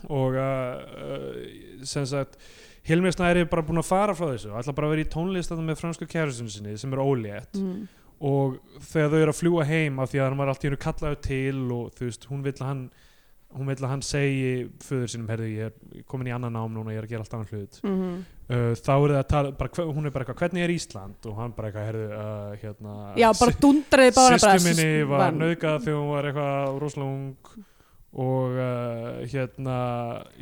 og uh, uh, sem sagt Hilmi Snæri er bara búin að fara frá þessu ætla bara að vera í tónlist þarna með fransku kærusinu sinni sem er ólétt
mm.
og þegar þau eru að fljúa heim af því að hann var allt í hennu kallaður til og þú veist, hún vill að hann hún vill að hann segi föður sínum herðu, ég er komin í annan nám núna, ég er að gera allt annan hlut
Mm
uh, þá eru það að tala, bara, hve- hún er bara eitthvað hvernig er Ísland og hann bara eitthvað herðu, uh, hérna
já bara dundraði bara
sýstu minni var nöðgað þegar hún var eitthvað rosalega ung og uh, hérna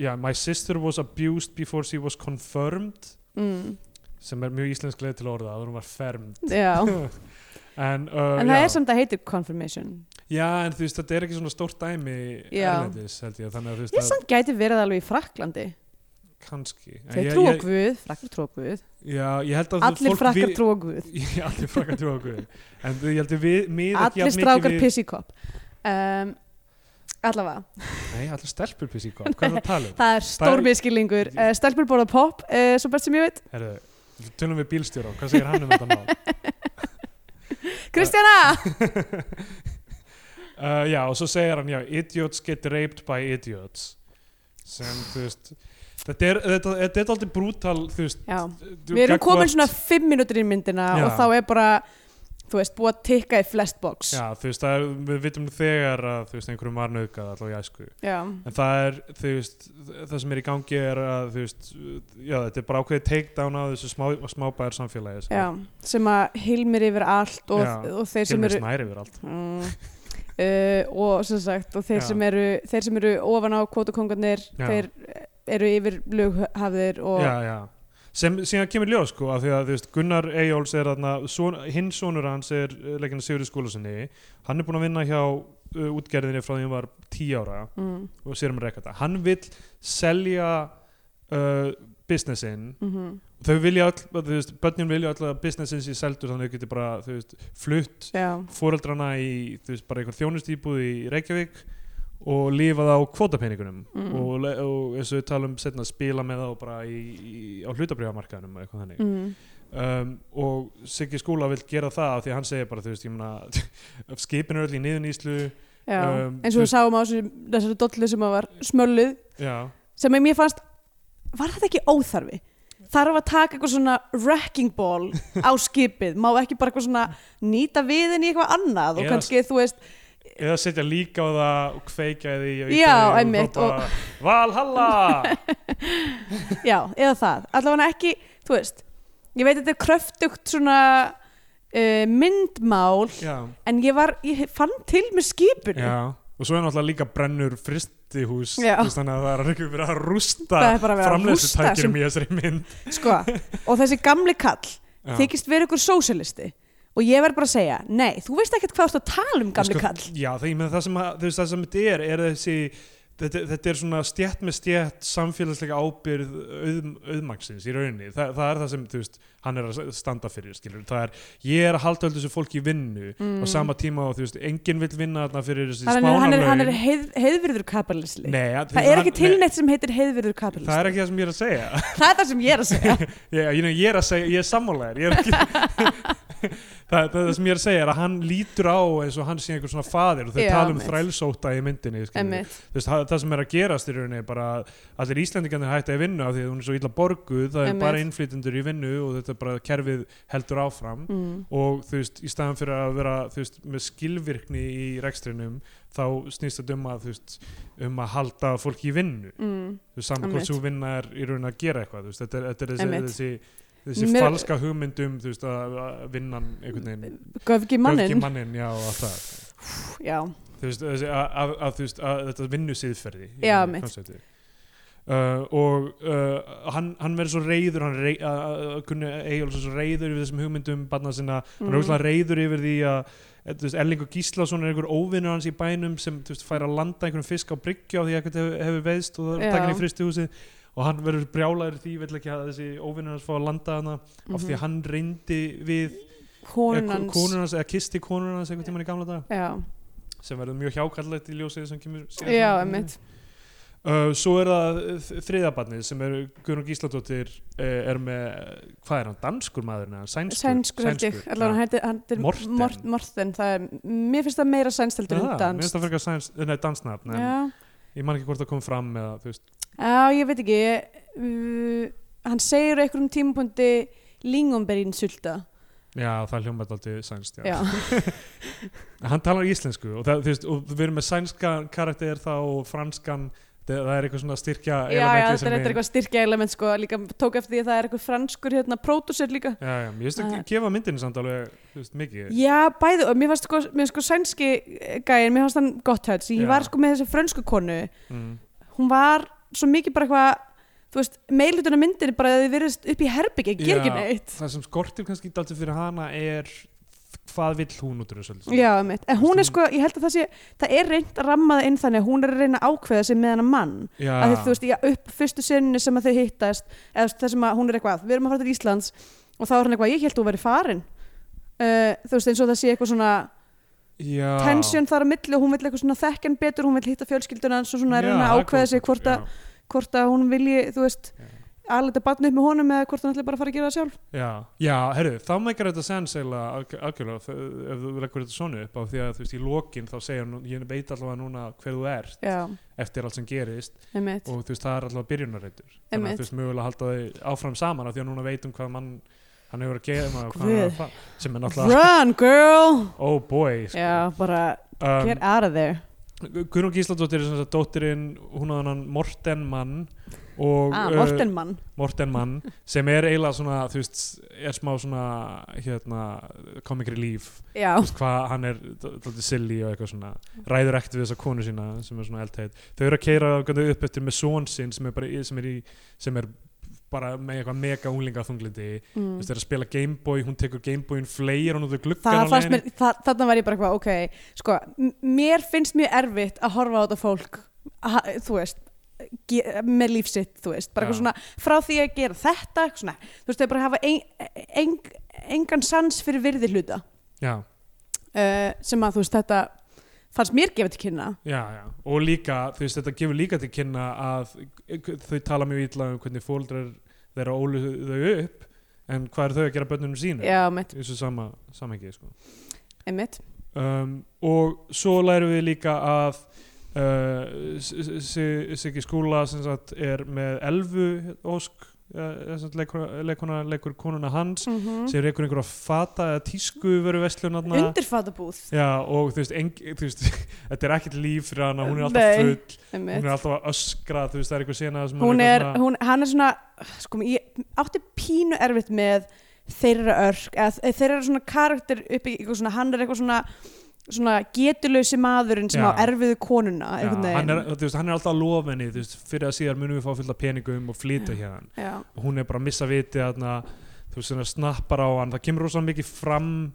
yeah, my sister was abused before she was confirmed
mm.
sem er mjög íslensk leið til orða að hún var fermd
Já,
en, uh,
en það
já.
er samt að heitir confirmation
Já, en þú veist, þetta er ekki svona stórt dæmi
Já.
erlendis, held ég, þannig að þú veist
Ég samt gæti verið alveg í Fraklandi
að kannski. En
Þeir
ég-
trúa
ég-
guð, frakkar trúa guð
Já, ég held að
Allir
fólk
frakkar
vi-
trúa guð
Já, allir frakkar trú á guð. En þú- ég held að við, mið ekki
Allir
jafn mikið
strákar
við-
piss í kopp um, Allavega,
Nei, allir stelpur pissi í kopp, hvað er það að tala um?
það er stór miskilningur uh, Stelpur borða pop, uh, svo best sem ég veit
Herðu, tölum við bílstjóra, hvað segir hann um þetta mál?
Kristjana!
uh, já, og svo segir hann, já, idiots get raped by idiots. Sem, þú veist, þetta er, þetta, þetta er aldrei brútal, þú veist,
Já,
þú-
við erum komin
gagnvart-
svona fimm mínútur í myndina
Já.
og þá er bara þú veist, búið að tikka í flest box
Já, þú veist, það er, við vitum þegar að, þú veist, einhverjum var nöðgað allavega í æsku.
Já.
en það er, þú veist, það sem er í gangi er að, þú veist, já, þetta er bara ákveðið takedown á þessu smá, sko. smábæðar samfélagi sem
Já, sem að hilmir yfir allt og,
Já,
og þeir sem
Hilmir
eru
snæri yfir allt
mm, uh, og sem sagt og þeir
Já.
sem, eru, þeir sem eru ofan á kvotakongarnir
Já.
þeir eru yfir löghafðir og
já, já. sem síðan kemur ljós sko af því að þú veist, Gunnar Eyjóls er þarna son, hinn sonur hans er eh, leikinu Sigurður Skúlasinni hann er búinn að vinna hjá uh, útgerðinni frá því hann var 10 ára
mm,
og sérum að rekka þetta hann vill selja uh, businessin
mm
þau vilja all, þú veist, börnin vilja all að businessin sé seldur þannig að þau geti bara þú veist, flutt
já,
fóreldrana í þú veist, bara einhver þjónustýbúð í Reykjavík og lifað á kvotapeningunum
Mm.
og, le- og eins og við talum setna spila með þá bara í, í, á hlutabrifamarkaðunum eitthvað þannig
mm,
um, og Siggi Skúla vill gera það af því að hann segir bara þú veist, ég meina skipin er öll í niðuníslu
já.
Um,
eins og við
þú-
sáum á þessu, þessari dollu sem að var smölluð
já,
sem að mér fannst var þetta ekki óþarfi þarf að taka eitthvað svona wrecking ball á skipið, má ekki bara eitthvað svona nýta viðin í eitthvað annað og
Eða-
kannski þú veist,
eða setja líka á það og kveikja í því og
Já,
ýta því og
einmitt,
hrópa, Valhalla
já, eða það allavega ekki, þú veist ég veit að þetta er kröftugt svona uh, myndmál
já
en ég var, ég fann til með skipinu
Já, og svo er náttúrulega líka brennur fristihús, þú
Já.
veist, þannig að það er ekki verið að rústa
Það er bara verið að rústa
framleiðslutækjum
þessum-
í þessari mynd
sko, og þessi gamli kall
Já.
þykist verið ykkur sósialisti og ég verð bara að segja, nei, þú veist ekkert hvað þú ert að tala um gamli
Sko,
kall
Já, það, með það, sem að, þú veist, það sem þetta er, er þessi þetta, þetta er svona stjætt með stjætt samfélagslega ábyrð auð, auðmaksins í rauninni, Þa, það er það sem þú veist, hann er að standa fyrir, skilur það er, ég er að halda öllu þessu fólki í vinnu á sama tíma og þú veist, enginn vill vinna þarna fyrir þessi
Mm. hann er, hann er, hann er
spánalaun
heið, heiðvirður kapitalisti
Nei, að-
það er
hann-
ekki til
nei,
neitt sem heitir heiðvirður kapitalisti
Það er ekki það sem ég er að segja
það er það sem ég er að segja
Ég, ég, ég er að segja, ég er sammálaðir ég er ekki það, það, það sem ég er að segja er að hann lítur á eins og hann sé einhver svona faðir og þau
Já,
tala um
einmitt.
þrælsóta í myndinni skilurðu.
Einmitt.
Þú veist, það, það sem er að gerast í rauninni er bara að allir Íslendingarnir hætti að vinna af því að hún er svo illa borguð, það er
Einmitt.
bara innflytundur í vinnu og þetta er bara kerfið heldur áfram
mm.
og þú veist, í staðan fyrir að vera þú veist, með skilvirkni í rekstrinum þá snýst þetta um að þú veist, um að halda fólki í vinnu
Mm.
þú veist, saman hvort
Einmitt.
svo vinna er í raun að gera eitthvað þú veist, þetta er, þetta er þessi,
Einmitt.
þessi, þessi
Mér-
falska hugmyndum þú veist, að að vinnan einhvern veginn
göfgi mannin
göfgi mannin, já, allt það
já,
þú veist, þessi, að, að, að, þú veist, að þetta vinnu síðferði
Já, einmitt.
Uh, og uh, hann, hann verður svo reyður hann rey, uh, uh, kunni Egil svo reyður yfir þessum hugmyndum barna sinna, hann er
Mm.
óslega reyður yfir því að eh, þú veist, Erling og Gíslason er einhver óvinnur hans í bænum sem þú veist, fær að landa einhverjum fisk á bryggju á því að eitthvað hefur, hefur veist og það er
Já.
takin í fristihúsi og hann verður brjálaður því, vill ekki að þessi óvinnur hans fá að landa hana
Mm.
af
Mhm.
því að hann Eh, reyndi við eh,
konunans
konur hans eða kisti konur hans einhvern tímann í gamla dag
já,
sem verður mjög hjákallegt í ljósið sem kemur síðar
já,
fram.
emmitt
Uh, svo er það þriðabarnið sem er Guðrún Gísladóttir uh, er með, hvað er hann, danskur maðurinn eða sænskur?
sænskur held ég, allavega hann heitir- hann heitir
Morten.
Mort- Morten, það er, mér finnst það meira sænsteldur en
Ah, Mér
dans
finnst það frekar sæns, nei, dansnafn en
já,
ég man ekki hvort það kom fram eða, þú veist,
já, ég veit ekki ég, uh, hann segir á einhverjum tímapunkti lingomberin sulta
já það hljómaði aldrei sænst, já.
já,
Hann talar íslensku og, það, þú veist, og við erum með sænskan karakter þá og franskan, það, það er eitthvað svona styrkja
já, já,
elementið
þetta er
sem
þetta er eitthvað styrkja element sko, líka tók eftir því að það er eitthvað franskur hérna, pródusir líka
Já, já, ég veist
Það-
að gefa myndinni samt alveg, þú veist, mikið.
Já, bæði, og mér fannst sko, mér sko sænski eh, gæinn, mér fannst hann gott höll ég
Já.
var sko með þessi frönsku konu
Mm.
hún var svo mikið bara eitthvað þú veist, meilutuna myndinni bara að þið verðist upp í herbyggi, ger ekki
Já.
neitt
Það sem skortir kannski dálítið fyrir hana er hvað vill hún út úr þessu? öllu saman.
Já, mitt, en hún
Þú
er
veist,
sko, ég held að það sé það er reynd að ramma það inn þannig að hún er að reyna að ákveða sig með hennar mann
Já.
að þið, þú veist, ég upp fyrstu sinni sem að þau hittast eða þú veist, það sem að hún er eitthvað, við erum að fara til Íslands og þá er hann eitthvað, ég held þú verið farin uh, þú veist, eins og það sé eitthvað svona
Já.
tension þar á milli og hún vill eitthvað svona þekkjan betur hún vill hitta fjölskylduna hans og svona
Já,
reyna
það
að
er
ákveða
gott.
sig hvort, að,
Já,
hvort að hún vilji, þú veist
Já.
alveg að batna upp með honum eða hvort hann ætli bara að fara að gera það sjálf
já, já herru, þá meikar þetta sens eiginlega alg- algjörlega þ- ef þú leggur þetta svona upp á því að þú veist í lokin þá segja hann, ég veit allavega núna hver þú ert
Já,
eftir allt sem gerist
einmitt,
og þú veist það er allavega byrjunarreitur þannig
Einmitt.
að þú veist mögulega halda þau áfram saman af því að núna veit um hvað mann hann hefur að gera og hvað hann
Guð.
er að fa- sem er náttúrulega,
run girl
oh boy sko.
Já, bara
um,
get out of there
Guðrún Gísladóttir er sem sagt dóttirinn, hún á þannan Morten mann og
ah,
uh,
Morten Mann
Morten Mann sem er eiginlega svona, þú veist, er smá svona hérna, comic relief
já,
Þú veist, hvað hann er daldið silly og eitthvað svona ræður ekkert við þessa konu sína sem er svona eldheit þau eru að keira upp eftir með són sinn sem er bara í- sem er, í, sem er bara með eitthvað mega unglinga þunglindi mm.
mm.
þau eru að spila Gameboy, hún tekur Gameboyin fleir hún út af gluggan
það fannst mér, það, þarna var ég bara eitthvað ok, sko, m- mér finnst mjög erfitt að horfa á þetta fólk ha, þú veist ge- með lífsitt, þú veist, bara eitthvað
Já.
svona frá því að gera þetta, eitthvað svona þú veist, þau bara hafa ein, ein, engan sans fyrir virði hluta
já,
uh, sem að þú veist, þetta fannst mér gefið til kynna
já, já. og líka, þú veist, þetta gefur líka til kynna að þau tala mjög illa um hvernig fóldrar þeirra ólu þau upp en hvað eru þau að gera börnunum sínu
já, mitt,
í þessu sama, samhengi sko.
einmitt
um, og svo lærum við líka að uh, S- S- Siggi Skúla sem sagt er með elfu ósk uh, leikuna, leikur konuna hans
mm -hmm.
sem reikur einhverja fata eða tísku veru vestlunarna
undirfatabúð,
Já, og þú veist, eng, þú veist þetta er ekkert líf fyrir hana, hún er alltaf
Nei.
full
einmitt
hún er alltaf að öskra, þú veist, það er eitthvað sena sem
hún
eitthvað
er,
svona-
hún, hann er svona sko, ég átti pínu erfitt með þeirra örk, eða þe- þeirra eru svona karakter uppi, í eitthvað svona, hann er eitthvað svona svona getulösi maðurinn sem
Já.
á erfiðu konuna
Já,
einhvern
hann, er,
veginn.
þú veist, hann er alltaf að lofa henni þú veist, fyrir að síðar munum við fá fullt af peningum og flytja hérna
Já.
hún er bara að missa viti þarna, þú veist, svona snappar á hann það kemur rosa mikið fram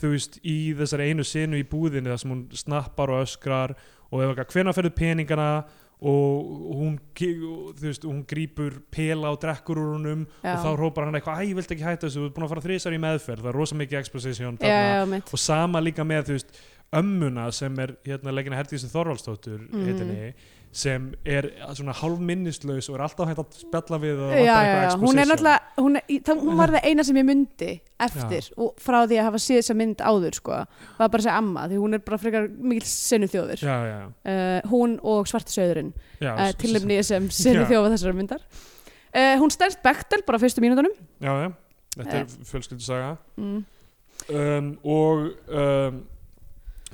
þú veist, í þessari einu sinu í búðinni þar sem hún snappar og öskrar og ef eitthvað, hvenær ferðu peningana og hún ge- og, þú veist, hún grípur pela og drekkur úr húnum
Já.
og þá hrópar hann eitthvað, æ, ég vildi ekki hætta þessu þú ert búin að fara þrísar í meðferð, það er rosa mikið exposition
já, já, mitt
og sama líka með þú veist ömmuna sem er hérna leggina Herdísi Þorvaldsdóttur
Mhm.
heitinni sem er svona hálfminnislaus og er alltaf hægt að spjalla við og
Já,
vantar
já, já,
eitthvað
hún er
exposition.
náttúrulega hún, er, í- það- hún var það eina sem ég myndi eftir og frá því að hafa séð þessa mynd áður sko, var bara að segja amma því hún er bara frekar mikil senu þjóður
já, já,
hún og svarti söðurinn
já,
uh,
s-
tilumni sem senu
Já.
þjófa þessara myndar uh, hún stærst Bechtel bara á fyrstu mínútunum
s- já, já, þetta
Eh.
er fjölskyldusaga
mm.
um, og um,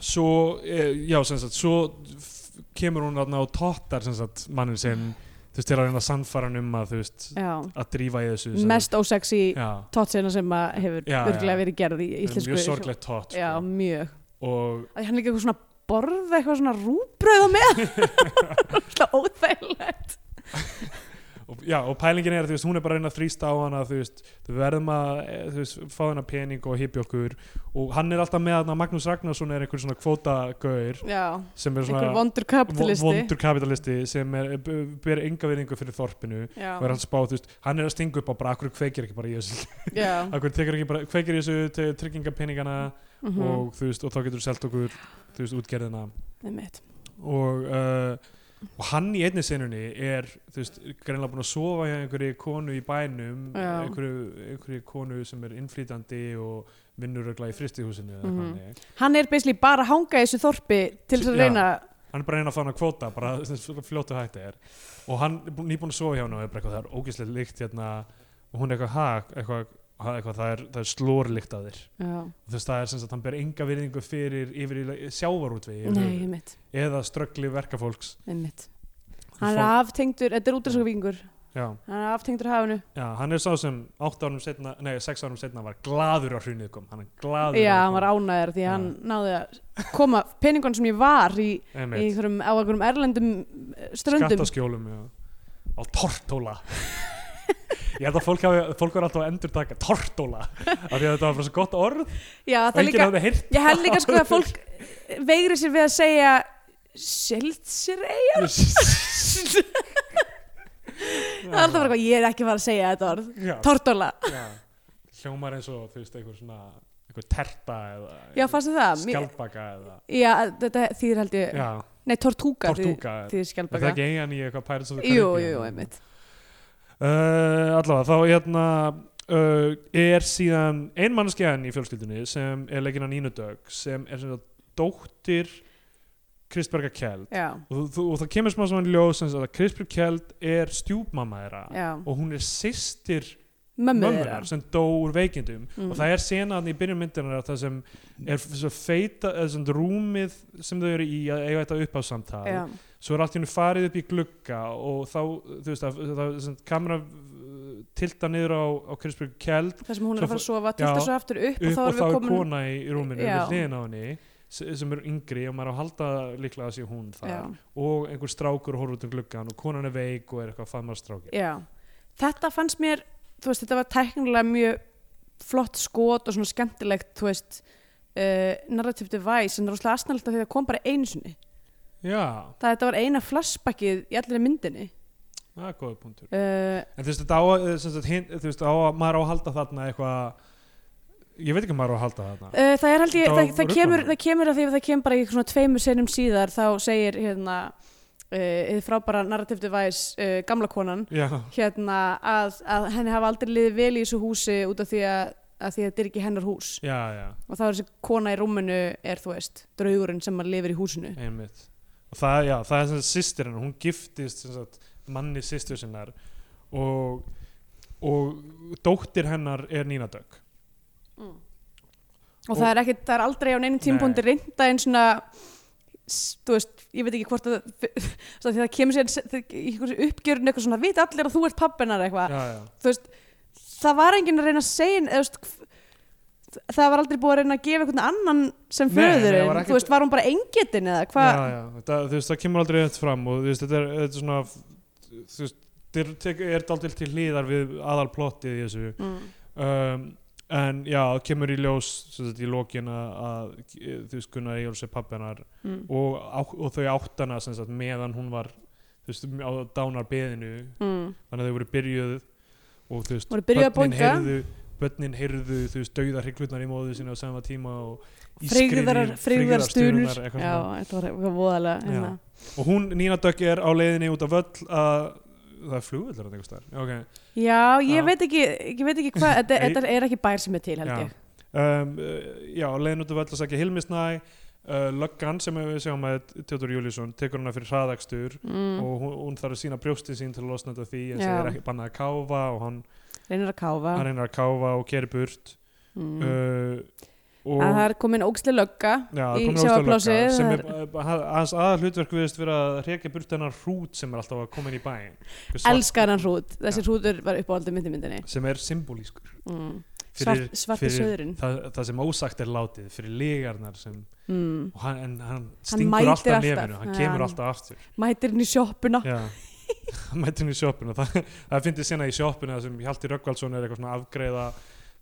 svo eh, já, sem sagt, svo f- kemur hún þarna og tóttar sem sagt mannin sinn, þú veist, til að reyna að sannfæra hann um að, þú veist,
Já,
að drífa í þessu sem-
mest ósexy
já,
tótsina sem að hefur
Já,
örglega
já.
verið gerð í
þetta er
íslensku
mjög sorglegt tótt sko.
Já, mjög
og
Að Hann er líka eitthvað svona borð eitthvað svona rúbröð á með Alltaf óþægilegt
og, já, og pælingin er, þú veist, hún er bara að reyna að þrýsta á hana, þú veist, þú verðum að eh, þú veist, fá hana pening og hippi okkur og hann er alltaf með hana, Magnús Ragnarsson er einhver svona kvótagaur
Já,
sem er
einhver
svona
vondur kapitalisti
vo- vondur kapitalisti sem er, b- ber enga verðingu fyrir þorpinu
Já,
og er hann spáð, þú veist, hann er að stinga upp á bara, akkur kveikir ekki bara í þessu
já
akkur tekur ekki bara, kveikir í þessu te- tryggingapeningana
mm
og þú veist, og þá getur selt okkur þú veist, útgerðina
Einmitt.
og uh, og hann í einni sinunni er þú veist, greinlega búin að sofa hjá einhverju konu í bænum
Já.
einhverju, einhverju konu sem er innflýtandi og vinnur ögla í fristihúsinu eða
Mhm.
hvað hann er.
Hann er beisli bara að hanga í þessu þorpi til þess að
Já.
reyna
hann er bara að reyna að fá hann að kvóta bara sem sagt, fljótu hætti er og hann er bú- nýbúin að sofa hjá hann og er bara eitthvað það er ógeðslega líkt hérna og hún er eitthvað, ha, eitthvað, ha, eitthvað það er, það er slórlíkt af þér
Já,
og þú veist það er sem sagt hann ber enga virðingu fyrir yfir sjávarútvegi
nei,
yfir-
einmitt,
eða ströggli verkafólks
einmitt Hann er aftengdur, þetta er útrásakavíkingur
Já.
Hann er aftengdur hafinu
Já, hann er sá sem 8 árum setna, nei 6 árum setna var gladur á hrunnið kom, hann er gladur
Já, hann var ánæður því að
Já.
hann náði að koma peningun sem ég var í, í
ánægð
einhverjum, á einhverjum erlendum eh, ströndum
Skattaskjólum, já Á tortóla Ég held að fólk, hafi, fólk var alltaf að endur taka tortóla af því að þetta var bara svo gott orð
Já,
og
það
enginn
líka,
hafði heyrt
ég held líka sko að fólk veigri sér við að segja Seltsirei Það er alltaf bara eitthvað, ég er ekki að fara að segja þetta orð
eitthvað
Tortóla,
Hljómar eins og þú veist einhver svona einhver terta eða
já fannst þið það? Mér-
skjaldbaka eða
Já, þetta þýðir held ég
já,
Nei, tortúka
tortúka eða-
þýðir
Er það
skjálpaka
ekki eigan í eitthvað Pirates of the
Jú,
Caribbean?
jú, einmitt
uh, allavega þá hérna uh, er síðan ein mannskjæðan í fjölskyldunni sem er leikinn af Nínu Dögg sem er sem sagt dóttir Kristberga Kjeld
Já,
og, þú, og það kemur smá saman í ljós sem sagt að Kristberg Kjeld er stjúpmamma þeirra
já,
og hún er systir
mömmu þeirra
mömmunar sem dó úr veikindum
Mm.
og það er senaðan í byrjun myndunar það sem er svo feita eða sem rúmið sem þau eru í að eiga þetta upp á samtal
Já,
svo er allt í hennu farið upp í glugga og þá, þú veist, að, það, sem kamera tilta niður á, á Kristbjörg Kjeld
það sem hún er
Svo
að fara að sofa
já,
tilta svo aftur upp, og
upp
þá
og
erum
þá
við
er
komin
kona í rúminu
Já.
við hliðin á henni s- sem er yngri og maður á að halda líklega að sé hún það
já,
og einhver strákur horfður út um gluggan og konan er veik og er eitthvað að faðma strákir
já. þetta fannst mér þú veist, þetta var teknilega mjög flott skot og svona skemmtilegt þú veist, uh, narrative device en það er rosalega aðsnælt af því að það kom bara einu sinni
já,
það þetta var eina flashbackið í allir myndinni
það er góða punktur
uh,
En þú veist, þetta á, að- eh, sem sagt, hin, þú veist, á, að- maður á að halda þarna eitthvað Ég veit ekki að maður á að halda þarna
Uh, það er held ég,
Þetta
það,
var
það, kemur,
ruglandi.
það kemur að því að það kemur bara í svona tveimur senum síðar þá segir hérna uh, frábæra narrative device uh, gamla konan
Já,
hérna að, að henni hafa aldrei liðið vel í þessu húsi út af því að, að því að þetta er ekki hennar hús
já, já,
og þá er þessi kona í rúminu er þú veist, draugurinn sem að lifir í húsinu
einmitt Og það, já, það er sem sagt systir hennar, hún giftist sem sagt, manni systur sinnar og, og dóttir hennar er Nína Dögg
og, það er ekki, það er aldrei á neinum tímpóndi reynda en svona s- þú veist, ég veit ekki hvort að svo því það kemur sér það- í einhverju uppgjörun eitthvað svona, vita allir að þú ert pappinar eitthvað
Já, já,
þú veist, það var enginn að reyna að segja eða, þú veist, hv- það var aldrei búið að reyna að gefa einhvern annan sem
Nei, nei, það
föðurinn,
var ekkert-
þú veist, var hún bara engetin eða hvað,
já, já. Það, þú veist, það kemur aldrei þetta fram og þú veist, þetta er, þetta er svona þú veist, þetta er- tek- er dálítið til hlýðar við aðalplottið í þessu
mm.
um, en já, það kemur í ljós sem sagt, í lokin að, að þú veist Gunnar Eyjólfs er pappinar
Mm.
og, á- og þau áttana sem sagt, meðan hún var þú veist, á dánarbeðinu
Mm.
þannig að þau voru byrjuð og þú veist,
Voru byrjuð að
börnin
bólga.
heyrðu börnin heyrðu, þú veist, dauða hrygglunar í móðu sína á sama tíma og
frigðar,
ískrið í-
frigðar stunur
stuðlunar,
já,
eitthvað svona.
þetta var eitthvað voðalega hérna.
og hún, Nína Dögg er á leiðinni út af völl að það er flugvöldur þarna einhvers staðar. okay.
já, ég
Já.
veit ekki ég veit ekki hvað, þetta,
Nei.
þetta er ekki bær sem er til held
Já.
ég
um, uh, já, leiðin út af öll að segja Hilmisnæ uh, löggan sem við sjáum að Teodor Júlísson tekur hana fyrir hraðakstur
mm.
og hún, hún þarf að sína brjóstin sín til að losna þetta því en
Já.
það er ekki bannað að káfa og hann,
reynir að káfa
hann reynir að káfa og keri burt
mm.
uh, og
að það er komin ógsli lögga
já,
í
komið óstöðlega
sjávarplássi,
lögga sem
það
er uh, hans aða hlutverk viðist vera að reka burt hennar hrút sem er alltaf að koma inn í bæin Einhver svart-
elskar hann hrút, þessi
Já.
hrútur var uppáhaldið myndi myndinni
sem er symbolískur
mm.
fyrir,
Svart, svarti
fyrir
söðurinn
það, það sem ósagt er látið fyrir ligarnar sem
mm.
og hann, en hann stingur
mætir
alltaf
alltaf.
nefinu, hann kemur
Já.
alltaf aftur
mætir henni í sjoppuna
já hann mætir hann í sjoppuna það, það finnir sena í sjoppuna þar sem Hjalti Röggvaldsson er eitthvað svona að afgreiða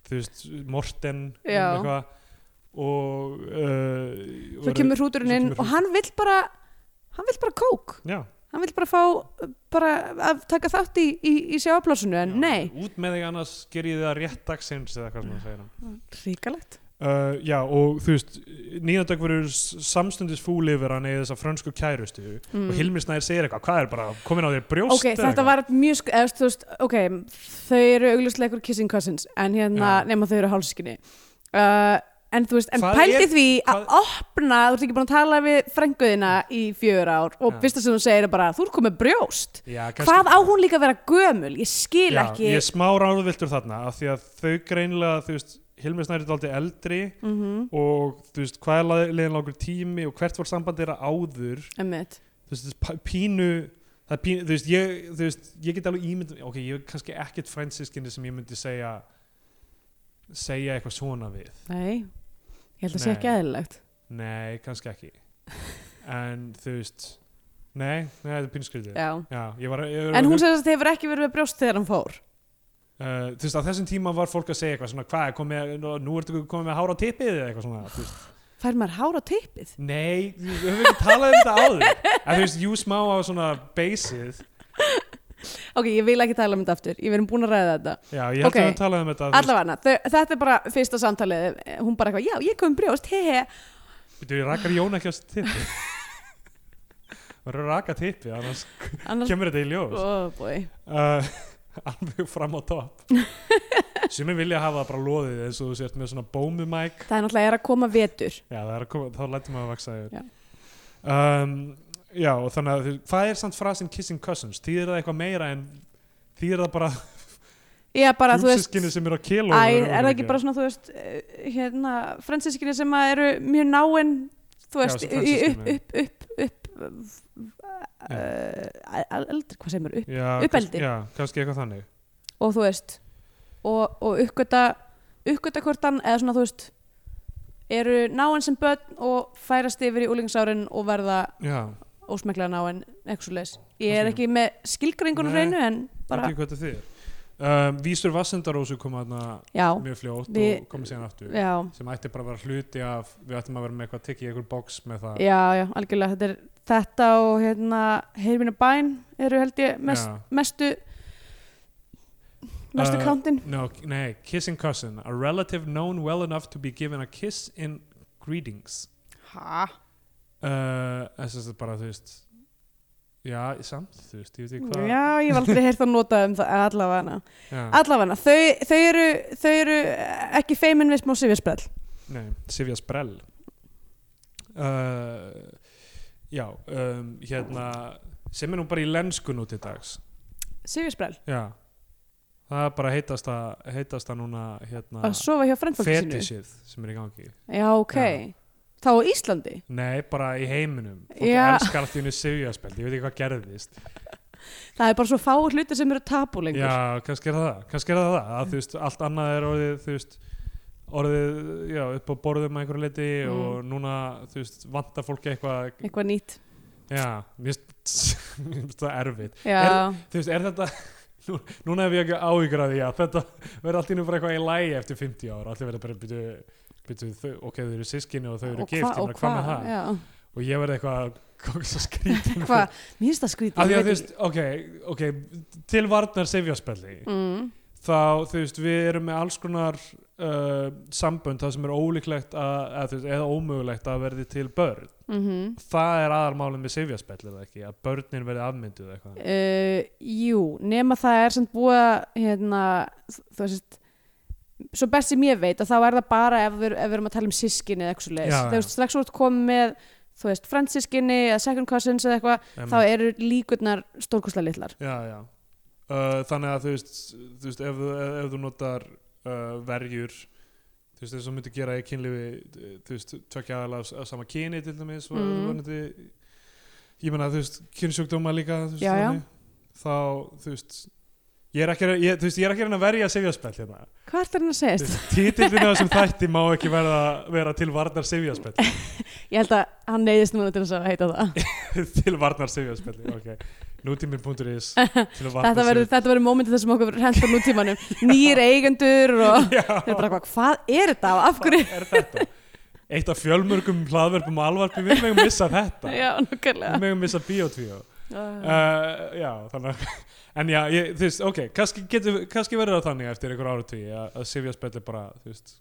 þú veist, Morten um
Já.
eitthvað og uh,
svo kemur hrúturinn
svo
inn
kemur
og hann vill bara hann vill bara kók
já,
hann vill bara fá uh, bara að taka þátt í, í, í sjáplásinu en
já,
nei,
út með þig annars ger ég það rétt dagsins eða hvað sem hann segir um. hann
ríkalegt
Uh, já og þú veist Nýjandag verður samstundis fúl yfir hann eða þessa frönsku kærustu
Mm.
og Hilmi Snær segir eitthvað, hvað er bara komin á þér brjóst
ok,
eða
þetta
eitthvað?"
var mjög sk- eða, þú veist, ok, þau eru augljóslega einhver kissing cousins en hérna,
Já.
nema þau eru hálskinni uh, en þú veist, en
Hvað
pældi
er-
því að
hvað-
opna, þú ert ekki búin að tala við frænguðina í fjör ár og
Já.
fyrsta sem hún segir er bara, þú ert komið brjóst
já, kannski-
hvað á hún líka að vera gömul, ég skil
Já,
ekki
ég er smá ráðviltur þarna af því að þau greinlega, þú veist Hilmi Snær er aldrei eldri
mm -hmm.
og þú veist, hvað er la- leiðin langur tími og hvert var sambandi þeirra áður
Emmett
þú veist, þetta er pa- pínu það er pínu, þú veist, ég, þú veist, ég get alveg ímynd ok, ég er kannski ekkert fransískinni sem ég myndi segja segja eitthvað svona við
Nei, ég held að sé
Nei.
ekki eðlilegt
nei, kannski ekki en þú veist nei, nei, þetta er pínu skrítið
Já.
Já, ég var, ég var
En hún sem þess að hefur ekki verið með brjóst þegar hann fór
Uh, þú veist, á þessum tíma var fólk að segja eitthvað svona, hvað, er komið, nú, nú ertu komið með hára á tippið eða eitthvað svona, þú veist
Fær maður hár á teipið?
Nei, við höfum ekki talað um þetta áður en þú veist, jú smá á svona basið
Ok, ég vil ekki tala um þetta aftur Ég verðum búin að ræða þetta
Já, ég held
Ok.
að við höfum talað um þetta
Alla vana, þetta er bara fyrsta samtalið eh, Hún bara eitthvað, já, ég kom með brjóst, hehe
Býtu, rakar Jón ekki á tippi Verður að raka tippi annars
Annars,
kemur þetta í ljós
oh boy
uh, Alveg fram á topp Sumir vilja hafa það bara loðið eins og þú sért með svona bómumæk
Það er náttúrulega er að koma vetur
Já, það er að koma, þá lætum maður að vaksa
Já.
yfir um, Já, og þannig að þú- hvað er samt frasin kissing cousins? Þýðir það eitthvað meira en þýðir það bara
já, bara, þú veist
Húsiskinni sem er á kilo
Æ, er það ekki bara svona, þú veist, eh, hérna, fransískinni sem að eru mjög náinn, þú
Já,
veist,
sem
í upp,
fransískinni.
upp, upp, upp, upp uh, eldri, hvað segir maður, upp,
já,
uppeldi.
kannski- Já, kannski eitthvað þannig
og þú veist, og, og uppgöta, uppgöta hvort hann, eða svona, þú veist, eru náinn sem börn og færast yfir í úlingsárin og verða
Já,
ósmeklega náinn, eitthvað svo leis. Ég er
Kannski.
ekki með skilgringunum
Nei,
hreinu, en bara,
ekki hvað þetta þýðir um, Vísur Vassendarósu kom aðna
já,
mjög fljótt
Við-
og komið síðan aftur
já.
sem ætti bara að vera hluti af við ættum að vera með eitthvað tikk í einhver box með það
Já, já, algjörlega, þetta er þetta og hérna, heyrmina bæn eru held ég mest,
Já.
mestu mestu uh,
Uh,
kántin
No, nei, kissing cousin A relative known well enough to be given a kiss in greetings
Hæ?
uh, Þess að bara, þú veist Já, samt, þú veist, ég veit ekki hvað
Já, ég hef aldrei heyrt að nota um það allavega
Já,
allavega, þau, þau, eru, þau eru ekki feimin við smá sifjarspell
nei, Sivja Sprell uh, Já, um, hérna sem er nú bara í lenskun út í dags
sifjarspell,
Já Það er bara heitasta, heitasta núna hérna,
að sofa hjá frendfólki sínu
fetishið sem er í gangi
Já, ok,
Já.
þá á Íslandi
Nei, bara í heiminum Fólk
Já.
elskar allt í henni sifjaspell, ég veit ekki hvað gerðist
það er bara svo fá hluti sem eru tabu lengur
Já, kannski er það það, kannski er það það að, þú veist, allt annað er orðið þú veist, orðið, já, upp á borðum að einhverju leiti
Mm.
og núna þú veist, vantar fólki eitthvað
eitthvað nýtt
já, mér finnst- mér finnst það erfitt
Já,
þú veist, er þetta nú, núna hef ég ekki áhyggjur af því að þetta verður allt í nú bara eitthvað í lægi eftir 50 ára allir verður bara byrju, byrju, þau, ok, þau eru sískinni og þau eru gift, ég meina, hvað með það
Já,
og ég verði eitthvað, hvað er svo skrítið
hvað, mér finnst það skrítið
að því
ég
að
veit
þú veist, ok, ok til varnar sefjaspelli
ekki. mm.
þá þú veist við erum með alls konar uh, sambönd það sem er ólíklegt að, að, veist, eða ómögulegt að verði til börn
Mm
það er aðalmálið með sifjaspell eða ekki að börnin verði afmynduð eitthvað
uh, jú, nema það er samt búið að hérna, þú veist svo best sem ég veit að þá er það bara ef við, ef við erum að tala um sískinni eða eitthvað svo
Já,
þú
já.
veist, strax úr komið með þú veist, fransískinni eða second cousins eða eitthvað, þá eru líkurnar stórkosla litlar
já, já. Uh, þannig að þú veist, þú veist ef, þú- ef þú notar uh, verjur þú veist þess að myndi gera í kynlífi uh, þú veist, tvekja aðalega af sama kyni til dæmis og
Mhm.
mm. vonandi, ég meina þú veist, kynsjúkdóma líka þú veist,
Já, já.
þannig. þá þú veist ég er ekki, að- ég, þú veist, ég er ekki að reyna að verja sifjaspell hérna
hvað er það hann að segja?
Þú veist, titillinn á þessum þætti má ekki verða, vera til varnar sifjarspelli
ég held að hann neyðist núna til þess að heita það
til varnar sifjarspelli ok, nútímin.is til varnar
þetta verður- þetta verður mómentið þessum okkur hendur nú tímanum nýjir eigendur og þeir eru bara eitthvað, hvað er þetta og af hverju
er þetta eitt af fjölmörgum hlaðverfum og alvarpi við megum missa þetta
já,
við
nokkarlega
megum missa biotvíó uh, já, þannig að- en já, ég, þú veist, ok, kannski, getur, kannski verður það þannig eftir einhver áratví að, að sifjarspelli bara, þú veist,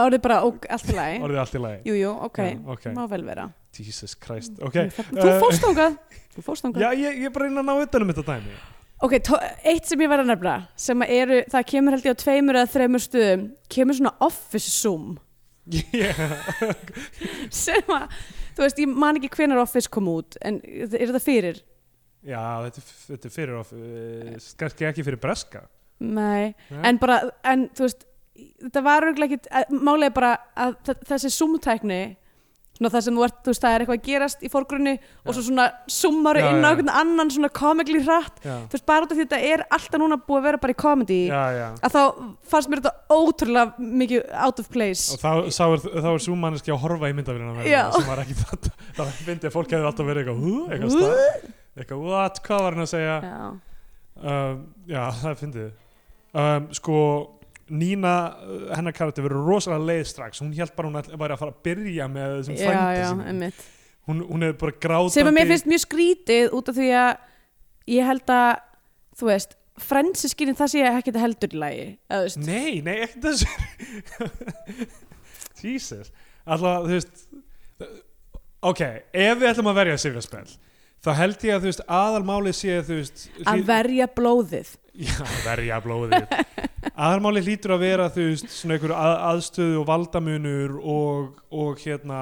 orðið bara ok, allt í lagi
orðið allt í lagi
Jú, jú, ok,
Já, ok.
má vel vera
Jesus Christ, ok
Þú
eh,
fórst ángað Þú fórst ángað
já, ég, ég bara reyna að ná utanum þetta dæmi
Ok, tó- eitt sem ég var að nefna sem að eru, það kemur held ég á tveimur eða þreimur stöðum kemur svona office zoom
yeah.
sem að, þú veist, ég man ekki hvenar office kom út en er þetta fyrir?
Já, þetta, er- þetta er fyrir of, uh, kannski ekki fyrir breska
Nei,
Nei.
en bara, en þú veist þetta var auðvitað ekki, málið er bara að þ- þessi zoom-tækni svona það sem þú ert, þú veist, það er eitthvað að gerast í fórgrunni og
Já.
svo svona zoomaru
Já,
inn á
já.
einhvern annan svona komikli hratt
Já,
þú veist, bara út af því að þetta er alltaf núna búið að vera bara í komedi
já, já.
að þá fannst mér þetta ótrúlega mikið out of
Og
place
þá, þá er, þá er svo manneski að horfa í myndafélina með
Já.
það sem var ekki þetta Það myndi að fólk hefur alltaf verið eitthvað "Hú?" eitthvað stað, eitthvað what, hvað var hann að segja
já,
um, Já, það fyndið um, Sko, Nína uh, hennar karakter verið rosalega leið strax hún held bara hún ætli- væri að fara að byrja með þessum
já, já,
frænda sínum
einmitt
hún, hún er bara grátandi
sem að mér finnst mjög skrítið út af því að ég held að, þú veist frensiskinni það sé ekki þetta heldur í lagi eða, þú veist,
Nei, nei, ekki þessu Jesus Alltaf, þú veist Ok, ef við ætlum að verja sifjarspell þá held ég að, þú veist, aðalmálið sé, þú veist
að verja blóðið
Já, verja blóðið aðarmáli hlýtur að vera þú veist svona einhver að, aðstöðu og valdamunur og, og hérna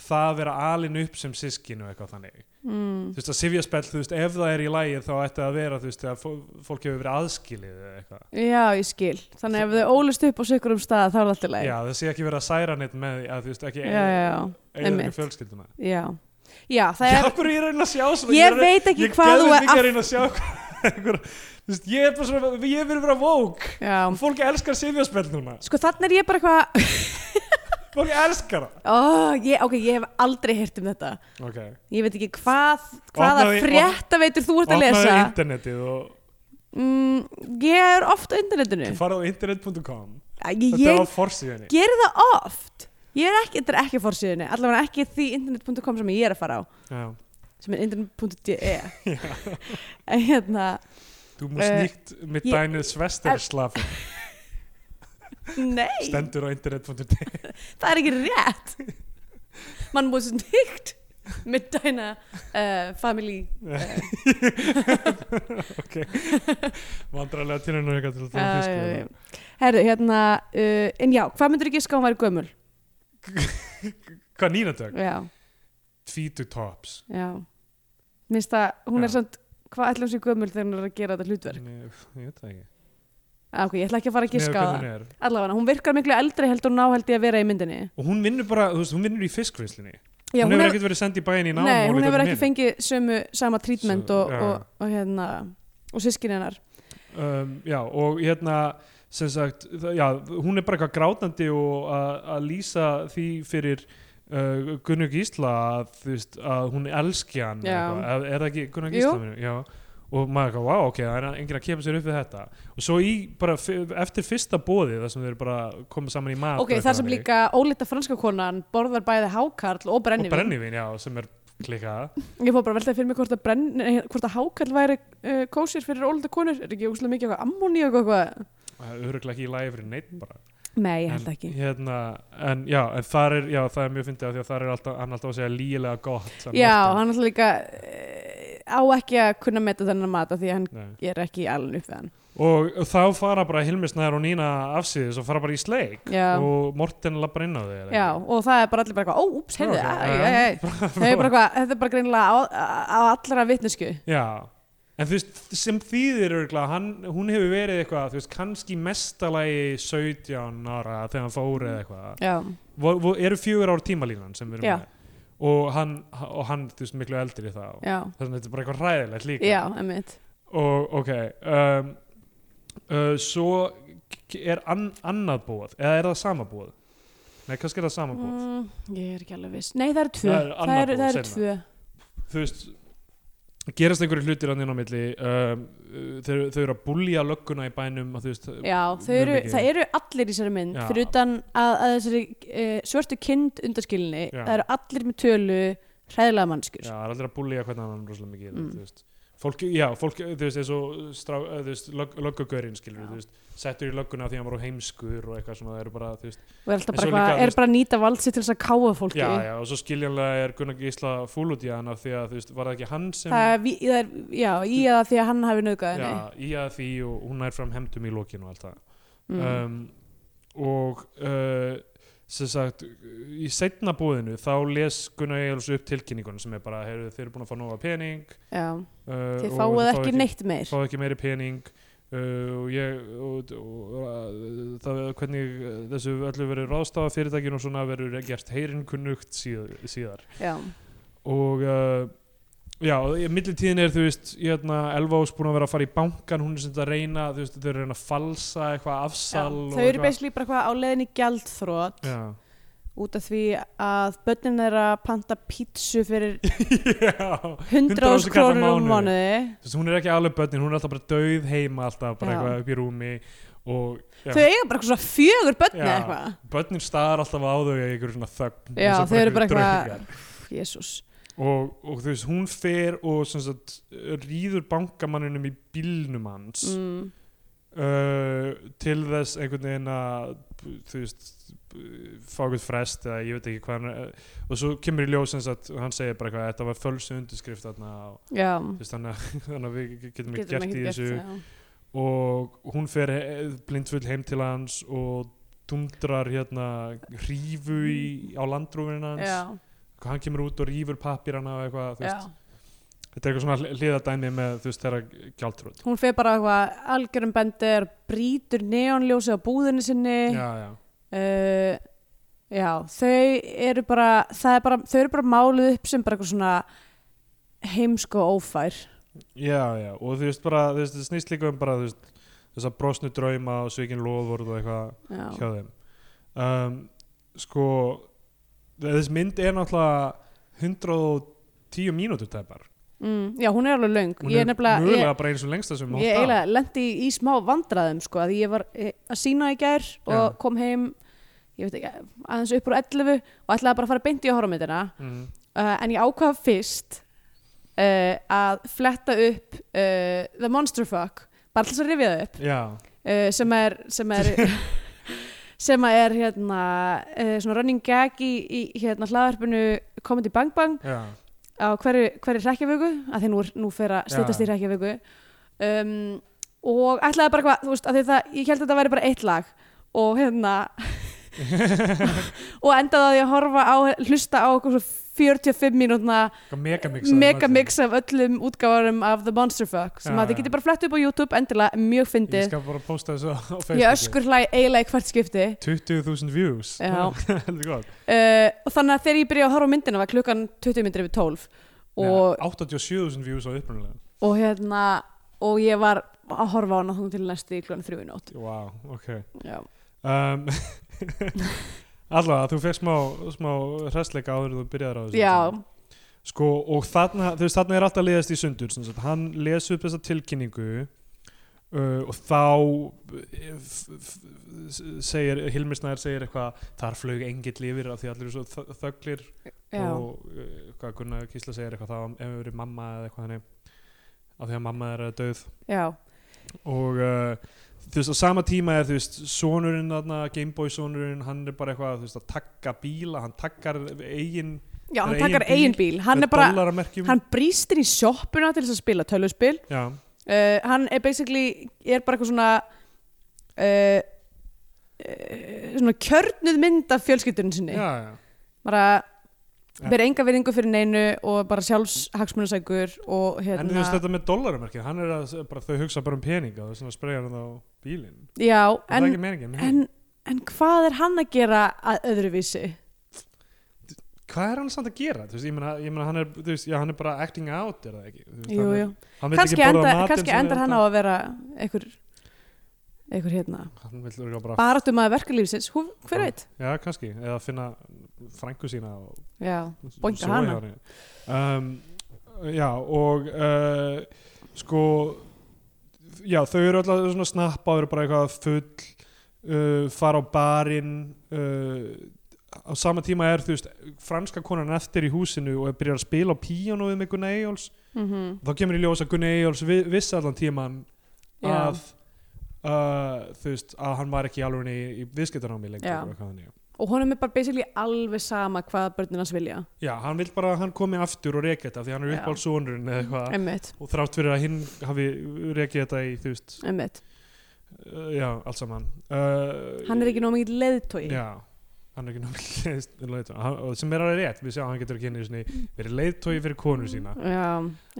það að vera alin upp sem sískin og eitthvað þannig
mm.
þú veist að sifjaspell þú veist ef það er í lægið þá ætti það að vera þú veist að fó- fólk hefur verið aðskilið eða eitthvað
já, ég skil þannig ef þau ólist upp á sikkur um stað þá er það alltaf leið
já það sé ekki verið að særa neitt með því að þú veist ekki
já, já, einmitt.
ekki fjölskylduna
já. já það
já
er
hverju ég er að reyna að sjá svona
ég
er-
veit ekki
ég
hvað þú er
geðveikt ekki
að
að reyna að sjá hvað- einhver, þú veist ég er bara svona ég er verið að vera vók
já.
fólk elskar sifjaspell núna
sko þannig er ég bara eitthvað
fólk elskar það
oh, ég, ok, ég hef aldrei heyrt um þetta
okay.
ég veit ekki hvað hvaða
Opnaði-
frétta veitur þú ert að lesa
opnaðu internetið og
mm, ég er oft á internetinu
farað á internet.com
ég,
þetta er á
ég
forsíðunni
gerir það oft ég er ekki, þetta er ekki á fórsíðunni allavega ekki því internet.com sem ég er að fara á
já.
sem er internet.de en hérna
þú
Eh,
múst nýtt með
ég- Eh,
dænið svesterslaf
nei,
stendur á internet.de
það er ekki rétt mann múið svo nýtt með dæna uh, family
ok vandrarlega tilhengur eitthvað til að það
uh,
fisk
herru, hérna uh, en já, hvað myndur ekki ská að hún væri gömul
hvað nýnatök?
já,
tvítu tops
já minnst að hún
Já.
er samt hvað ætlum sér gömul þegar hún er að gera þetta hlutverk
Nei, ég veit það ekki
ah, ok, ég ætla ekki að fara að
Miðað við
giska á það
hvernig hún er.
allavega, hún virkar miklu eldri heldur en á held ég að vera í myndinni
og hún vinnur bara, þú veist, hún vinnur í fiskvinnslinni
já,
hún hefur ekkert verið sendið í bæinn í námál
nei,
í
hún hefur
dálítið
ekki
meira.
fengið sömu, sama trítment
Svo-
og,
já.
og, og hérna og sískin hennar
um, já, og hérna sem sagt, það- já, hún er bara eitthvað grátandi og að að lýsa því fyrir uh, Gunnar Gísla að, þú veist, að hún elski hann
Já.
eitthvað. er, er það ekki Gunnar
Jú.
Gísla minn? já og maður eitthvað, wow, ok, það er enginn að kepa sér upp við þetta og svo í, bara f- eftir fyrsta bóði þar sem þeir eru bara komið saman í mat og
ok,
eitthvað
þar sem
þannig.
líka ólita franska konan borðar bæði hákarl og
og
brennivín
brennivín, já, sem er klika
ég fór bara að velta fyrir mig hvort að, brenn, nei, hvort að hákarl væri uh, kósir fyrir ólita konur er ekki úslega mikið eitthvað ammóni og eitthvað
öruglega ekki í lagi fyrir neitt bara
nei, ég held
En,
ekki
hérna, en já, en þar er, já, það er mjög fyndið af því að þar er alltaf, hann er alltaf að segja lígilega gott sem
já,
oftar.
hann alltaf líka uh, á ekki að kunna meta þennan mata því að hann
Nei.
er ekki alveg upp við hann
og þá fara bara Hilmi Snær og Nína afsýðis og fara bara í sleik
já,
og Morten labbar inn á þig eða
já,
eitthvað.
og það er bara allir bara eitthvað ó, úps, heyrðu,
Já, ok,
æ,
já.
æ, æ, æ. Það er bara eitthvað, þetta er bara greinilega á, á allra vitnesku.
já, en þú veist sem þýðir örgulega, hann, hún hefur verið eitthvað, þú veist, kannski mestalagi 17 ára þegar hann fór eða eitthvað,
Já.
vo, vo, eru fjögur ár tímalínan sem við erum
Já.
með og hann, og hann, þú veist, miklu eldri þá
Já,
þess að þetta er bara eitthvað ræðilegt líka
já, emmitt.
og ok um, uh, svo k- er an, annað bóð eða er það sama bóð nei kannski er það sama bóð
Mm, ég er ekki alveg viss. Nei, það eru tvö.
Það er annað
Það eru,
boð
það eru
seinna.
tvö. Mm.
þú veist gerast einhverju hlutir hann inn á milli um, uh, þau, þau eru að búlja lögguna í bænum og þú veist
Já, þau
mjög
eru,
mikið.
það eru allir í þessari mynd,
Já.
fyrir utan að, að þessari e, svörtu kind undaskilinni,
Já.
það eru allir með tölu hræðilega mannskur.
já, það er allir að búlja hvernig annan rosalega mikið
Mm.
þú veist Fólk, já, fólk, þú veist, eins og strá, eh, þú veist, lög, löggugörinn, skilur,
Já.
þú veist, settur í lögguna því að hann var á heimskur og eitthvað svona, það eru bara, þú veist,
Og er alltaf
En
bara
svo
eitthvað,
líka,
er
þú veist-
bara að nýta vald sér til þess að káa fólki.
já, já, og svo skiljanlega er Gunnar Gísla fúl út í hann af því að, þú veist, var það ekki hann sem...
Það er, ví- það er, já, í að því að hann hafi nöðgað henni.
Já, í að því og hún er fram hemdum í lokinu og allt það
Mm.
um, og uh, sem sagt í setna búðinu þá les Gunnar Egilus upp tilkynningun sem er bara, heyrðu, þeir eru búin að fá nóga pening
já.
uh,
Þið
og
fáið ekki neitt meir.
fáið ekki meiri pening uh, og ég og, og, og, það, hvernig uh, þessu öllu verið ráðstafa fyrirtækinu og svona verður gert heyrinn kunnugt síðar, síðar
Já,
og uh, já, millitíðin er þú veist, hérna, Elva ás búin að vera að fara í bankan, hún er sem þetta að reyna þú veist, þau eru að reyna að falsa eitthvað
já.
afsal
Þau
og
eru
eitthvað-
basically bara eitthvað á leiðinni gjaldþrótt.
Já.
út af því að börnin þeirra panta pítsu fyrir
Já.
100.000
kall á
krónur á
mánuði.
mánuði
Þú veist, hún er ekki alveg börnin, hún er alltaf bara dauð heima alltaf,
Já.
bara eitthvað upp í rúmi og já,
þau eiga bara eitthvað svona fjögur börni
Já.
eða eitthvað
börnin staðar alltaf á þau í einhverju svona þögn
Já,
eins og
þau eru bara
einhverjir
eitthvað-
draugar.
jésús
og, og þú veist, hún fer og sem sagt, rýður bankamanninum í bílnum hans
mm.
uh, til þess einhvern veginn að þú veist b- fá eitthvað frest eða ég veit ekki hvað hann er, og svo kemur í ljós eins að hann segir bara eitthvað þetta var fölsu undirskrift þarna og
já
þú veist þannig að- þannig að við getum ekki
getur
gert
maður
í
ekki gert
þessu
það já.
og hún fer he- blindfull heim til hans og dundrar hérna hrífu í, á landrúfinu hans
já,
hann kemur út og rýfur pappirana og eitthvað, þú
já.
veist, þetta er eitthvað svona hl- hliðardæmi með þú veist þeirra gjaldtrótt
hún fer bara eitthvað algjörum bendir brýtur neonljósi á búðinni sinni
já, já,
uh, já þau eru bara, það er bara þau eru bara máluð upp sem bara eitthvað svona heimsko ófær
já, já og þú veist bara, þú veist, það snýst líka um bara þú veist, þess að brosnu drauma og svikin loðvörð og eitthvað
já,
hjá þeim um, sko þess mynd er náttúrulega 110 mínútur tæpar
mm, já hún er alveg löng
hún
ég
er
er nefnilega
mögulega
ég,
bara eins og lengsta sem
ég
hótt
eiginlega lendi í, í smá vandræðum sko, að ég var eh, að sína í gær og
Já.
kom heim ég veit ekki, aðeins upp úr 11 og ætlaði bara að fara beint í að horfa með þetta
mm,
uh, en ég ákvað fyrst uh, að fletta upp uh, The Monster Fuck bara til þess að rifja það upp
já,
uh, sem er sem er sem að er hérna uh, svona running gag í, í hérna hlaðarpinu Comedy Bang Bang
já,
á hverju, hverju rekkjavögu að því nú, er- nú fer að slutast í
Já.
rekkjavögu um, og ætlaði bara hvað, þú veist, að því það ég held að þetta væri bara eitt lag og hérna og endaði að ég að horfa á hlusta á okkur svo 45 mínútna
eitthvað megamix
megamix af öllum útgáfarum af The Monster Fuck sem
Já,
að þið
já.
getið bara flett upp á YouTube endilega, mjög
ég
fyndið
skal bara posta þessu á á
ég
Facebooku
öskur hlæ eiginlega í hvert skipti
20.000 views
Já.
heldur gott
uh, og þannig að þegar ég byrja að horfa á myndina var klukkan 20 myndir yfir 12 og,
Nei, 87.000 views á upprunalega
og hérna og ég var að horfa á hana þangað til næstu í klukkan 3 í nótt
wow, ok
já,
um, allavega, þú fekk smá, smá hressleika áður en þú byrjaðir á þessu
já,
Sko, og þarna, þú veist, þarna er alltaf að leiðast í sundur, sem sagt, hann les upp þessa tilkynningu uh, og þá eh, f- f- s- segir, Hilmir Snær segir eitthvað, þar flög engill yfir af því allir eru svo þö- þöglir
já.
og uh, hvað Gunnar Kísla segir eitthvað, það hefur verið mamma eða eitthvað þannig, af því að mamma er uh, döð
já.
og uh, þú veist á sama tíma er þú veist sonurinn þarna, Gameboy sonurinn hann er bara eitthvað þú veist að takka bíla hann takkar eigin
já hann
Það er
takkar
eigin
eigin bíl hann er bara,
dollaramerkjum
hann brýst inn í sjoppuna til þess að spila töluspil
já,
uh, hann er basically er bara eitthvað svona uh, uh, svona kjörnuð mynd af fjölskyldurinn sinni
já, já.
bara
Ja.
vera enga virðingu fyrir neinu og bara sjálfs hagsmunasækur og
en þú veist
hérna
þetta með dollaramerkjum hann er að bara þau hugsa bara um peninga og svona spreyja hann á bílinn
já,
en, það er
en,
ekki meningin
en, en hvað er hann að gera að öðruvísi
hvað er hann samt að gera þú veist ég meina, ég meina hann er þú veist já hann er bara acting out er það ekki Þú veist,
jú,
hann er-
jú.
hann vill ekki
kannski,
borða
enda,
matinn
kannski
sem er
endar hann á
alltaf-
að vera einhver einhver hérna
hann vill örugglega bara
baratum að verkalífsins, Hú, hver
Já.
veit
já kannski eða finna frængu sína og
já, Boinga
Sjói
hana.
hjá um, já og uh, sko já þau eru alltaf svona snappa eru bara eitthvað full uh, fara á barinn uh, á sama tíma er þú veist franska konan eftir í húsinu og byrjar að spila á píanóið með Gunni Eyjóls
mm
þá kemur í ljós að Gunni Eyjóls vi- vissi allan tíman
Já.
að uh, þú veist að hann var ekki alveg í, í viðskiptanámi lengur
Já.
og eitthvað þannig
og honum er bara basically alveg sama hvað börnin hans vilja
Já, hann vil bara að hann komi aftur og reki þetta því hann er
Já.
uppáhaldsónurinn eða eitthvað
einmitt,
og þrátt fyrir að hinn hafi rekið þetta í, þú veist,
einmitt
uh, já, allt saman uh,
hann er ekki nóg mikið leðtói
Já, hann er ekki nóg leiðtói Hann- og sem er alveg rétt, við sjáum að hann getur ekki henni sinni, verið leiðtói fyrir konu sína
Já,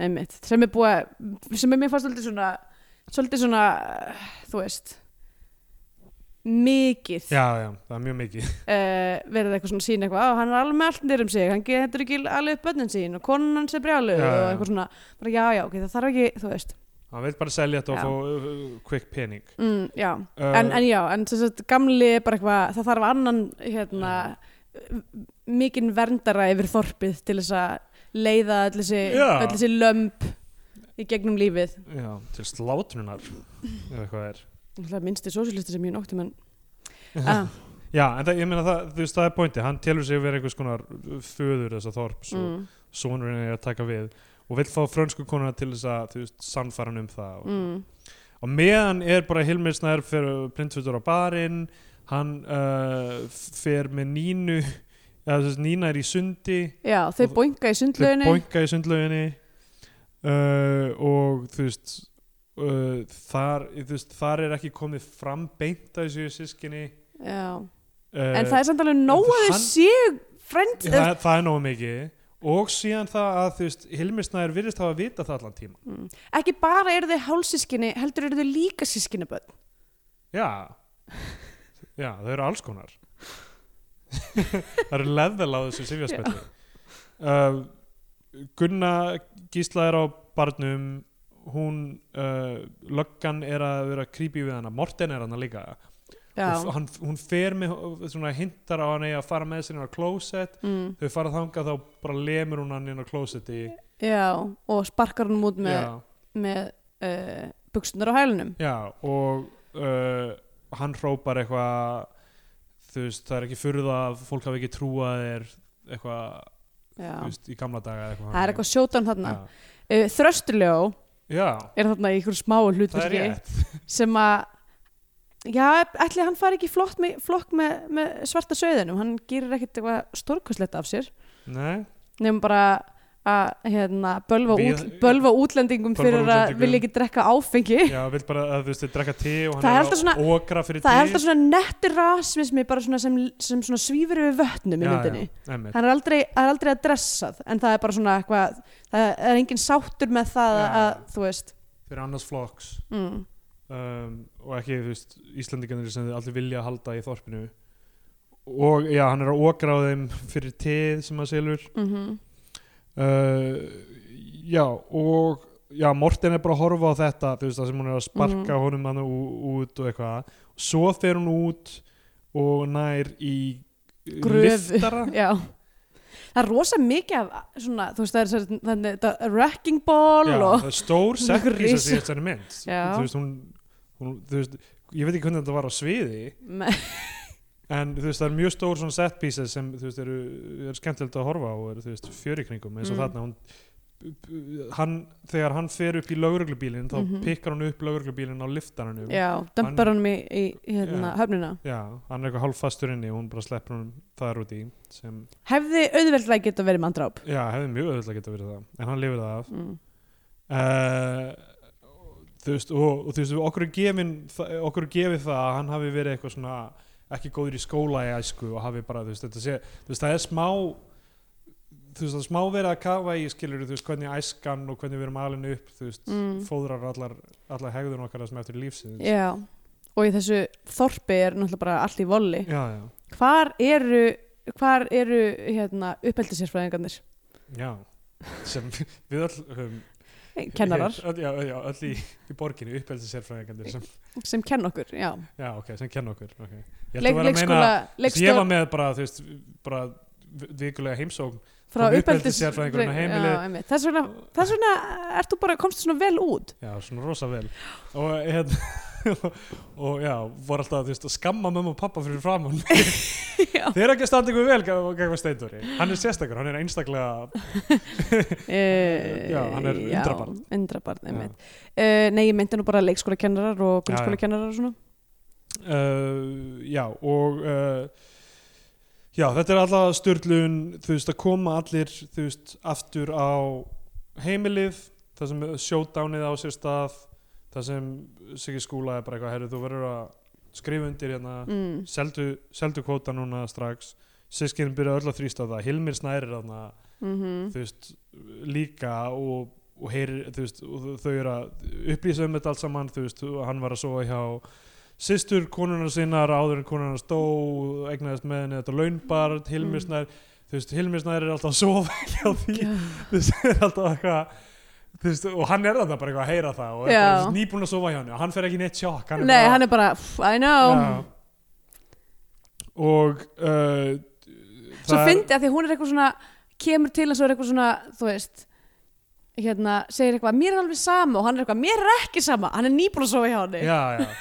einmitt, sem er búið að- sem er mér fannst svolítið svona svolítið svona, eh, þú veist mikið
Já, já, það er mjög mikið
uh, verið eitthvað svona sín eitthvað, "Á, hann er alveg með allt nýrum sig, hann getur ekki alveg upp börnin sín og konan hans er brjálu
Já,
og
já.
eitthvað svona, bara já, já, ok, það þarf ekki þú veist,
Hann vil bara selja
Já.
þetta og fá uh, uh, quick pening
mm, já
uh,
en, en já, en sem sagt, gamli er bara eitthvað, það þarf annan hérna, mikinn verndara yfir þorpið til þess að leiða öll þessi,
Já.
öll þessi lömb í gegnum lífið
Eh, Já, til slátrunar eða eitthvað er
Það er minnsti sósílisti sem ég nokti menn ah,
Já, en það, ég meina það, þú veist, það er pointi hann telur sig vera einhvers konar föður þessa þorps og
mm,
sonurinn er að taka við og vill fá frönsku konuna til þess að þú veist, sannfæra hann um það og,
mm,
og meðan er bara Hilmir Snær fyrir blindfutur á barinn hann uh, fer með Nínu eða þú veist, Nína er í sundi
Já, þau
Og-
boinga í
þau
sundlauginni
boinka í sundlauginni uh, og þú veist uh, þar, þú veist, þar er ekki komið fram beint að þessu sískinni
já.
uh,
en það er samt alveg nóg að
hann-
þau séu frend
það, það er nógu mikið og síðan það að þú veist Hilmir Snær virðist hafa vita það allan tíma
Mm. ekki bara eru þau hálsískinni heldur eru þau líka sískinaböld
já, já þau eru alls konar það eru leðvel á þessu sifjarspelli uh, Gunna Gísla er á barnum hún uh, löggan er að vera creepy við hana, Morten er hana líka og
já,
hann, hún fer með svona hintar á hann eigi að fara með sinni á klósett
mm,
þau fara þangað þá bara lemur hún hann inn á klósetti
já og sparkar hann út með,
já,
með uh, buksunar á hælunum
já, og uh, hann hrópar eitthvað þú veist, það er ekki furða að fólk hafi ekki trúað þér eitthvað,
já.
þú veist, í gamla daga eða
það er
þannig.
eitthvað sjótan þarna
já.
uh, þröstuljó
já,
er þarna í ykkur smáu
það er
hlutverki
rétt
sem að já, ætli hann fari ekki flott með, flokk með, með svarta söðinum hann gerir ekkit eitthvað stórkostlegt af sér
Nei,
nefnum bara að hérna, bölva,
Við-
út, bölva útlendingum
Bölva
fyrir að
útlendingum.
vilja ekki drekka áfengi
já, vill bara að þú veist, þeir drekka te og hann
Það er
er
alltaf svona-
að okra fyrir
það
te
er alltaf svona nettur rasmismi bara svona sem, sem svona svífur yfir vötnum í myndinni
já, já, einmitt.
hann er aldrei, það er aldrei að dressað en það er bara svona eitthvað það er engin sáttur með það
Já.
að þú veist
fyrir annars flokks
mm,
um, og ekki þú veist Íslandingarnir sem þið aldrei vilja halda í þorpinu og já, hann er að okra á þeim fyrir teð sem að selur
mm
uh, já, og já, Morten er bara að horfa á þetta þú veist, það sem hún er að sparka
Mhm.
honum hann út og eitthvað svo fer hún út og nær í
Gröfu.
lyftara
já það er rosa mikið af svona, þú veist það er svona, þannig, það er wrecking ball
já,
og
það er stór
Hún
sekk í
risa.
þessi þessari mynd
Já.
þú veist, hún, hún þú veist, ég veit ekki hvernig þetta var á sviði
Me-
en þú veist það er mjög stór svona set pieces sem þú veist eru, eru skemmtilegt að horfa á og eru þú veist fjöri kringum eins og
Mm.
þarna hún, hann, þegar hann fer upp í lauruglubílinn þá
Mhm.
pikkar hann upp lauruglubílinn á liftaranum
já, dömpar honum í, í hérna, höfnina
Já, hann er eitthvað hálffastur inni og hún bara sleppur hann þar út í sem,
hefði auðveldlega geta verið manndráp
já, hefði mjög öðvitað geta verið það en hann lifir það af
mm.
Eh, þú veist og, og þú veist okkur er gefin það- okkur er gefið það að hann hafi verið eitthvað svona ekki góður í skóla í æsku og hafi bara þú veist þetta sé þú veist það er smá þú veist það er smá verið að kafa í skilur þú veist hvernig æskan og hvernig við erum alin upp þú veist
Mm.
fóðrar allar allar hegðun okkar sem eftir lífsins
já og í þessu þorpi er náttúrulega bara allt í volli
já já
hvar eru hvar eru hérna, uppeldisérfræðingarnir
já sem við öll höfum
kennarar
öll, já, já, öll í, í borginni uppeldisérfræðingandir sem,
sem kenn okkur já.
já, ok, sem kenna okkur okay. Ég held
Leik,
þú værir að meina-
leikskóla,
Leikstjórn... Ég var
leikstjórn
með bara, þú veist, bara vi- vikulega heimsókn.
frá
frá uppeldissérfræðingunum á heimili.
uppeldisérfræðingarna þess vegna, þess vegna ert þú bara komst svona vel út
Já, svona rosa vel. Og, hérna, og já, voru alltaf, þú veist, að skamma mömmu og pappa fyrir framann.
Já.
Þeir eru ekki að standa ykkur vel gegn Steindóri. Hann er sérstakur, hann er einstaklega...
Eh,
Já, hann er
já,
undrabarn.
undrabarn,
Já.
einmitt. Eh, nei, ég myndi nú bara leikskóla kennarar og
Já, já.
grunnskóla og svona
Uh, já, og... Uh, já, þetta er alltaf styrlun, þú veist, að koma allir, þú veist, aftur á heimilið, það sem showdownið á sér stað, það sem Siggi Skúla er bara eitthvað, herru, þú verður að skrifa undir hérna...
mm.
seldu, seldu kvóta núna strax sískinin byrja öll að þrýsta á það Hilmir snærir þarna
Mm
þú veist, líka og, og heyrir, þú veist, og þau eru að upplýsa um þetta allt saman, þú veist og hann var að sofa hjá systur konunar sinnar, áður en konunar stó egnaðist með henni þetta launbart Hilmir
Mm.
snær, þú veist, Hilmir snær er alltaf að sofa hjá því þú veist, er alltaf eitthvað þú veist, og hann er þarna bara eitthvað að heyra það og er bara,
Já.
þú veist, nýbúin að sofa hjá henni og hann fer ekki neitt sjokk hann er
Nei,
bara-
hann er bara, "Pff, I know
Já. og uh,
Svo
það er-
fyndi að því hún er eitthvað svona kemur til hans og er eitthvað svona, þú veist hérna, segir eitthvað, mér er alveg sama og hann er eitthvað, mér er ekki sama hann er nýbúin að sofa hjá henni
já, já.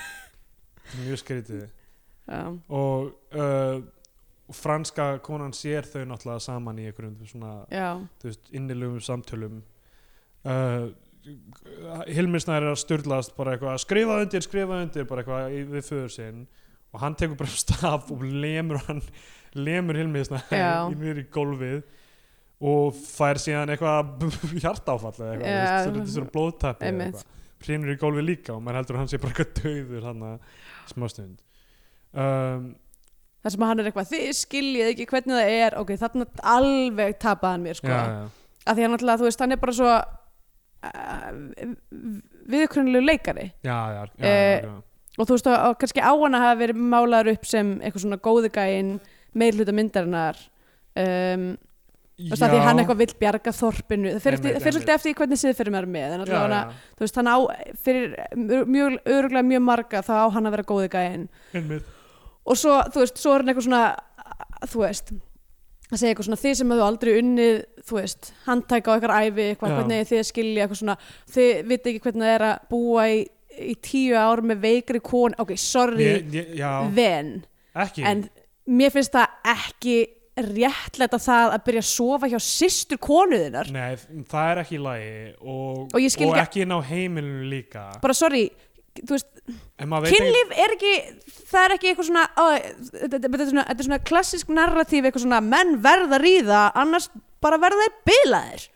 mjög skrítið
Já.
og uh, franska konan sér þau náttúrulega saman í einhverjum svona
Já.
þú veist, innilugum samtölum uh, Hilmir Snær er að styrlaðast bara eitthvað að skrifa undir, skrifa undir bara eitthvað í- við föður sinn og hann tekur bara um staf og lemur hann lemur Hilmir Snær
Já.
í mjög í gólfið og fær síðan eitthvað hjartáfall eða
Já.
eitthvað, þú veist, svona- svona blóðtappi eða
Einmitt.
eitthvað. Þú hrinur í gólfi líka og maður heldur að hann sé bara eitthvað döður hann að smástund um,
þar sem hann er eitthvað, þið skiljið ekki hvernig það er ok, þarna alveg tapaði hann mér sko.
já, já,
að því hann alltaf, þú veist, hann er bara svo uh, viðkrunnilegu leikari
já, já, já,
Eh,
já, já.
og þú veist, og, og kannski á hann að hafa verið málaður upp sem eitthvað svona góðugæin meir hluta myndarinnar um, þú veist, að því hann eitthvað vill bjarga þorpinu, það fer
Einmitt,
eftir- það fer svolítið eftir því hvernig siðferðum er með, en
já,
alltaf hann
já,
að þú veist, hann á fyrir mjög, öruglega mjög marga þá á hann að vera góði gæinn
einmitt.
og svo, þú veist, svo er hann eitthvað svona þú veist, að segja eitthvað svona þið sem hefðu aldrei unnið, þú veist handtæka á ykkar æfi, eitthvað,
Já.
hvernig eigið þið að skilja eitthvað svona, þið viti ekki hvernig það er að búa í, í tíu ár með veikri kon, ok, sorry
Ég, ég, já,
then,
ekki
en mér finnst það ekki réttlega það að byrja að sofa hjá systur konuðinnar
Nei, það er ekki í lagi og,
Og ég skil ekki-
ekki inn á heimilinu líka
bara sorry, þú veist
En maður veit ekki-
kynlíf er ekki, það er ekki eitthvað svona, á, þetta, þetta, þetta, er svona þetta er svona klassisk narratíf, eitthvað svona menn verða að ríða, annars bara verða þeir bilaðir.